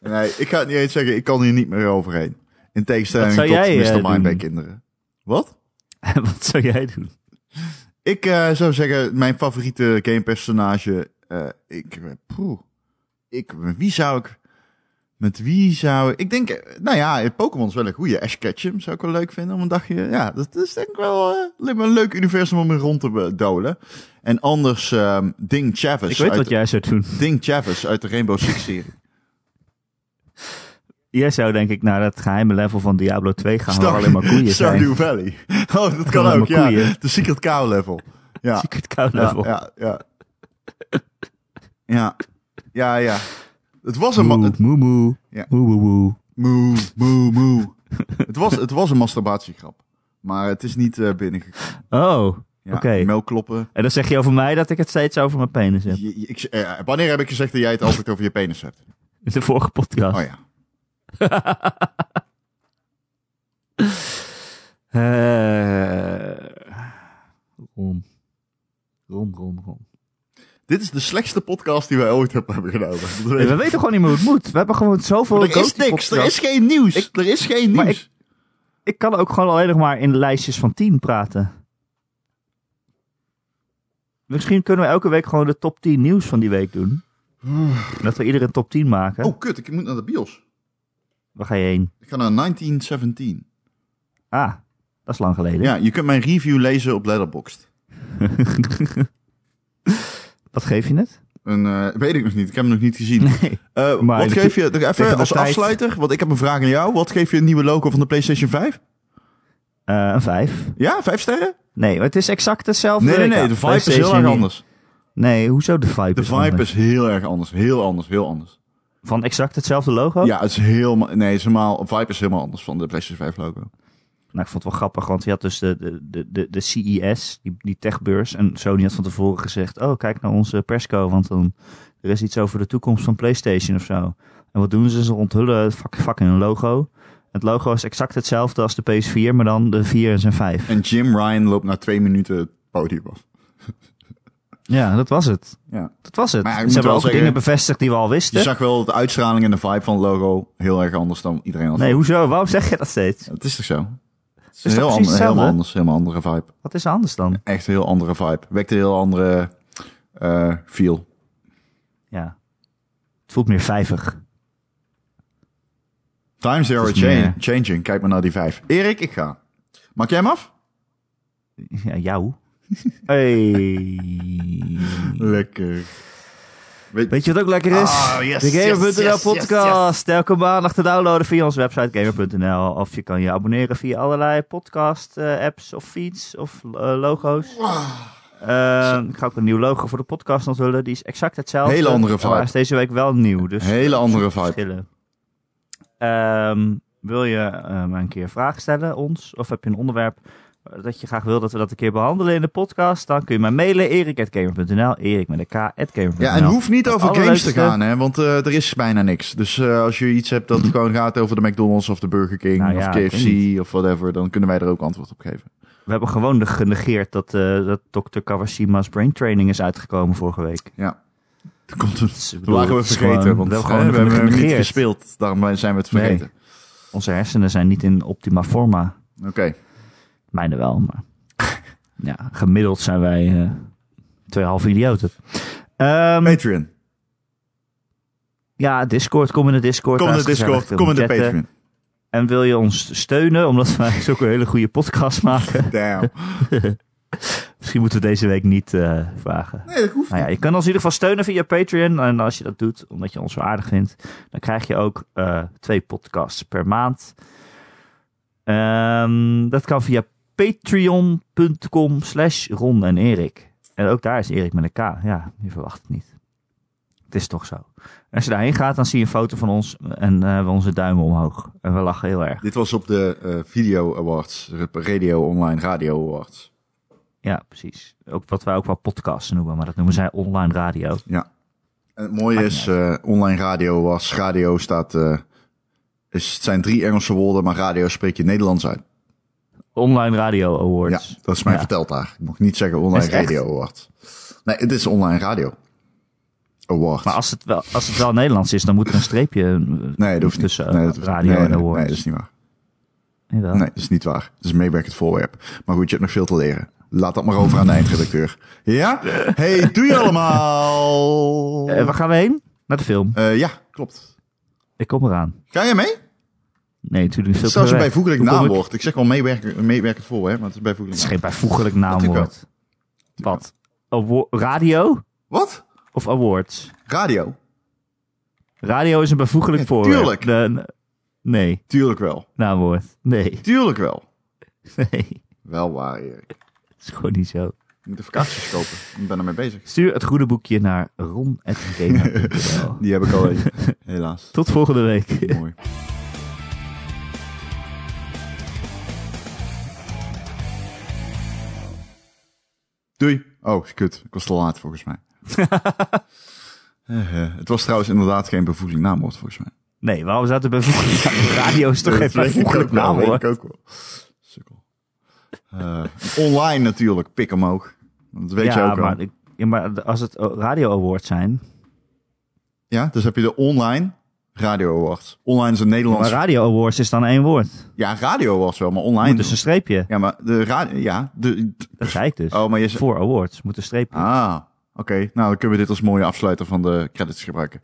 S2: Nee, ik ga het niet eens zeggen. Ik kan hier niet meer overheen. In tegenstelling
S1: Wat zou
S2: tot
S1: jij, eh,
S2: Mr. Mime
S1: doen?
S2: bij kinderen. Wat?
S1: En wat zou jij doen?
S2: Ik eh, zou zeggen, mijn favoriete gamepersonage... eh ik, eh, poeh. ik... Wie zou ik... Met wie zou ik... Ik denk, eh, nou ja, Pokémon is wel een goede. Ash Ketchum zou ik wel leuk vinden om een dagje... Ja, dat is denk ik wel eh, lijkt me een leuk universum om in rond te eh, dolen. En anders ehm, Ding Chavez.
S1: Ik weet
S2: uit,
S1: wat jij zou doen.
S2: Ding Chavez uit de Rainbow Six serie.
S1: Jij zou denk ik naar dat geheime level van Diablo 2 gaan... waar
S2: Star-
S1: alleen maar koeien zijn.
S2: Stardew Valley. Oh, dat kan
S1: Alleen
S2: ook,
S1: maar
S2: ja.
S1: koeien.
S2: De Secret Cow level. Ja,
S1: Secret Cow
S2: ja,
S1: level.
S2: ja, ja. Ja, ja, ja. Het was een... ma-
S1: Moe,
S2: het-
S1: moe, moe.
S2: Ja.
S1: Moe, moe, moe.
S2: Moe, moe, moe. Het was, het was een masturbatiegrap. Maar het is niet eh binnengekomen.
S1: Oh,
S2: Ja,
S1: Oké.
S2: Melkkloppen.
S1: en dan zeg je over mij dat ik het steeds over mijn penis heb.
S2: Je- je- ik- eh, wanneer heb ik gezegd dat jij het altijd over je penis hebt?
S1: In de vorige podcast.
S2: Oh ja.
S1: Eh, rom. Rom, rom, rom.
S2: Dit is de slechtste podcast die wij ooit hebben gedaan. Dat weet
S1: Nee, we
S2: ik.
S1: weten gewoon niet meer hoe het moet. We hebben gewoon zoveel...
S2: Maar er is
S1: goatee
S2: niks. Er
S1: podcasts.
S2: is geen nieuws. er is geen
S1: Maar
S2: nieuws.
S1: Ik kan ook gewoon alleen nog maar in lijstjes van 10 praten. Misschien kunnen we elke week gewoon de top 10 nieuws van die week doen. Dat we iedere top 10 maken.
S2: Oh, kut. Ik moet naar de bios.
S1: Waar ga je heen?
S2: Ik ga naar 1917.
S1: Ah, dat is lang geleden.
S2: Ja, je kunt mijn review lezen op Letterboxd.
S1: Wat geef je het?
S2: Een, eh, weet ik nog niet, ik heb hem nog niet gezien.
S1: Nee.
S2: Eh,
S1: Maar
S2: wat
S1: dat
S2: geef
S1: je-
S2: je, even
S1: tegen de
S2: als
S1: tijd-
S2: afsluiter, want ik heb een vraag aan jou. Wat geef je een nieuwe logo van de PlayStation 5?
S1: Eh, een 5.
S2: Ja, vijf sterren? eh,
S1: Nee, maar het is exact hetzelfde.
S2: Nee, nee,
S1: Ja,
S2: nee, de vibe is heel
S1: PlayStation
S2: erg
S1: niet.
S2: anders.
S1: Nee, hoezo de vibe?
S2: De
S1: is
S2: vibe
S1: anders?
S2: is heel erg anders, heel anders, heel anders.
S1: Van exact hetzelfde logo?
S2: Ja, het is helemaal, nee, het is helemaal, vibe is helemaal anders van de PlayStation 5 logo.
S1: Nou, ik vond het wel grappig, want je had dus de, de, de, de, de CES, die, die techbeurs. En Sony had van tevoren gezegd, oh, kijk naar onze persco, want dan, er is iets over de toekomst van PlayStation of zo. En wat doen ze? Ze onthullen het fuck- fucking logo. Het logo is exact hetzelfde als de PS4, maar dan de 4 en zijn 5.
S2: En Jim Ryan loopt na twee minuten het podium af.
S1: Ja, dat was het.
S2: Ja.
S1: Dat was het.
S2: Maar ja, ik
S1: Ze
S2: moet
S1: hebben ook
S2: wel zeggen-
S1: dingen bevestigd die we al
S2: Je
S1: wisten.
S2: zag wel de uitstraling en de vibe van het logo heel erg anders dan iedereen anders.
S1: Nee, hoezo? Waarom zeg je dat steeds?
S2: Het is toch zo? Het is,
S1: toch precies
S2: heel, ander, helemaal
S1: hetzelfde?
S2: anders, helemaal andere vibe.
S1: Wat is er anders dan?
S2: echt een heel andere vibe. Wekt een heel andere eh, feel.
S1: Ja. Het voelt meer vijvig.
S2: Times they are
S1: Het is meer-
S2: cha- changing. Kijk maar naar die vijf. Erik, ik ga. Maak jij hem af?
S1: Ja, jou. Hey.
S2: Lekker.
S1: Weet je wat ook lekker is?
S2: Ah, yes,
S1: de Gamer.nl
S2: yes, yes,
S1: podcast. Elke maandag te downloaden via onze website Gamer.nl. Of je kan je abonneren via allerlei podcast eh, apps of feeds of eh, logo's.
S2: Ah.
S1: Eh, ik ga ook een nieuw logo voor de podcast onthullen. Die is exact hetzelfde.
S2: Hele andere vibe.
S1: Maar hij is deze week wel nieuw. Dus
S2: Hele andere vibe.
S1: verschillen. Ehm, wil je eh, me een keer vragen stellen, ons? Of heb je een onderwerp dat je graag wil dat we dat een keer behandelen in de podcast, dan kun je mij mailen erik.gamer.nl, erik met een k, at gamer.nl.
S2: Ja, en hoeft niet
S1: Het
S2: over games te
S1: allerleukste-
S2: gaan, hè? Want eh, er is bijna niks. Dus eh, als je iets hebt dat gewoon gaat over de McDonald's of de Burger King
S1: Nou
S2: of
S1: ja, ik weet
S2: KFC
S1: niet.
S2: of whatever, dan kunnen wij er ook antwoord op geven.
S1: We hebben gewoon de- genegeerd dat, eh, dat Dr. Kawashima's brain training is uitgekomen vorige week.
S2: Dat komt het.
S1: Dus, ik
S2: Dat
S1: bedoel,
S2: waren we
S1: het is
S2: vergeten,
S1: gewoon-
S2: want
S1: we
S2: hè,
S1: hebben gewoon
S2: we hebben hem
S1: genegeerd.
S2: niet gespeeld. Daarom zijn we het
S1: Nee.
S2: vergeten.
S1: Onze hersenen zijn niet in optima forma.
S2: Oké.
S1: Mijne wel, maar ja, gemiddeld zijn wij eh, twee halve idioten. Ehm,
S2: Patreon.
S1: ja, Discord, kom in de Discord.
S2: Kom in
S1: Daar
S2: de
S1: is gezellig
S2: Discord,
S1: om
S2: kom in de
S1: te chatten.
S2: Patreon.
S1: En wil je ons steunen, omdat wij zulke hele goede podcast maken?
S2: Damn.
S1: Misschien moeten we deze week niet eh, vragen.
S2: Nee, dat hoeft
S1: Nou ja, je kan ons in ieder geval steunen via Patreon. En als je dat doet, omdat je ons zo aardig vindt, dan krijg je ook eh, twee podcasts per maand. Ehm, dat kan via patreon.com slash Ron en Erik. En ook daar is Erik met een K. Ja, je verwacht het niet. Het is toch zo. En als je daarheen gaat, dan zie je een foto van ons en eh, we onze duimen omhoog. En we lachen heel erg.
S2: Dit was op de eh, Video Awards, Radio Online Radio Awards.
S1: Ja, precies. Ook wat wij ook wel podcasts noemen, maar dat noemen zij online radio.
S2: En het mooie
S1: Maakt
S2: is, eh, Online Radio Awards, radio staat... eh, is, het zijn drie Engelse woorden, maar radio spreek je Nederlands uit.
S1: Online radio awards.
S2: Ja, dat is mij
S1: Ja.
S2: verteld daar. Ik mocht niet zeggen Online
S1: Is het echt?
S2: Radio Awards. Nee, het is Online Radio Awards.
S1: Maar als het, wel, als het wel Nederlands is, dan moet er een streepje eh,
S2: nee, dat hoeft niet.
S1: tussen eh,
S2: nee, dat hoeft-
S1: radio
S2: nee,
S1: en
S2: nee,
S1: awards.
S2: Nee, dat is niet waar.
S1: Jawel.
S2: Nee, dat is niet waar. Het is een meewerkend voorwerp. Maar goed, je hebt nog veel te leren. Laat dat maar over aan de eindredacteur. Ja? Hey, doe je allemaal!
S1: Eh, waar gaan we heen? Naar de film.
S2: Eh, ja, klopt.
S1: Ik kom eraan.
S2: Ga jij mee?
S1: Nee, natuurlijk
S2: Het
S1: niet.
S2: is trouwens een
S1: veel te ver weg.
S2: bijvoeglijk
S1: Hoe kom ik-
S2: naamwoord. Ik zeg wel meewerken, meewerkend voorwerp, maar het
S1: Het
S2: is bijvoeglijk
S1: is
S2: naamwoord.
S1: geen bijvoeglijk naamwoord.
S2: Natuurlijk
S1: Wat? Awa- radio
S2: Wat?
S1: of awards?
S2: Radio?
S1: Radio is een bijvoeglijk
S2: Ja,
S1: voorwerp.
S2: tuurlijk.
S1: De- n- nee,
S2: Tuurlijk wel.
S1: naamwoord. Nee.
S2: Tuurlijk wel.
S1: nee.
S2: Wel waar, Erik.
S1: Het is gewoon niet zo.
S2: Ik moet even kaartjes kopen. Ik ben ermee bezig.
S1: Stuur het goede boekje naar ron.gamer.nl
S2: Die heb ik al even. Helaas.
S1: Tot volgende week.
S2: Mooi. Doei. Oh, kut. Ik was te laat volgens mij. Eh, eh, het was trouwens inderdaad geen bevoeglijk naamwoord volgens mij.
S1: Nee, waarom zou het een bijvoeglijk Radio is toch
S2: Dat
S1: geen
S2: weet ik
S1: bijvoeglijk
S2: ook wel,
S1: naamwoord?
S2: weet Ik ook wel. Sukkel. Eh, online natuurlijk, pik omhoog. Dat weet je ook wel.
S1: maar, ik- ja, maar als het Radio Awards zijn.
S2: Ja, dus heb je de online radio awards. Online is een
S1: Maar
S2: Nederlands...
S1: Radio Awards is dan één woord.
S2: ja, radio awards wel, maar online...
S1: Moet dus een streepje.
S2: Ja, maar de radio... Ja, de...
S1: Dat zei ik dus.
S2: Oh, maar je zegt...
S1: Voor awards moet een streepje.
S2: Ah, oké. Nou, dan kunnen we dit als mooie afsluiter van de credits gebruiken.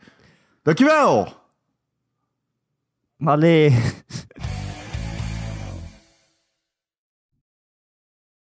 S2: Dankjewel!
S1: Maar nee.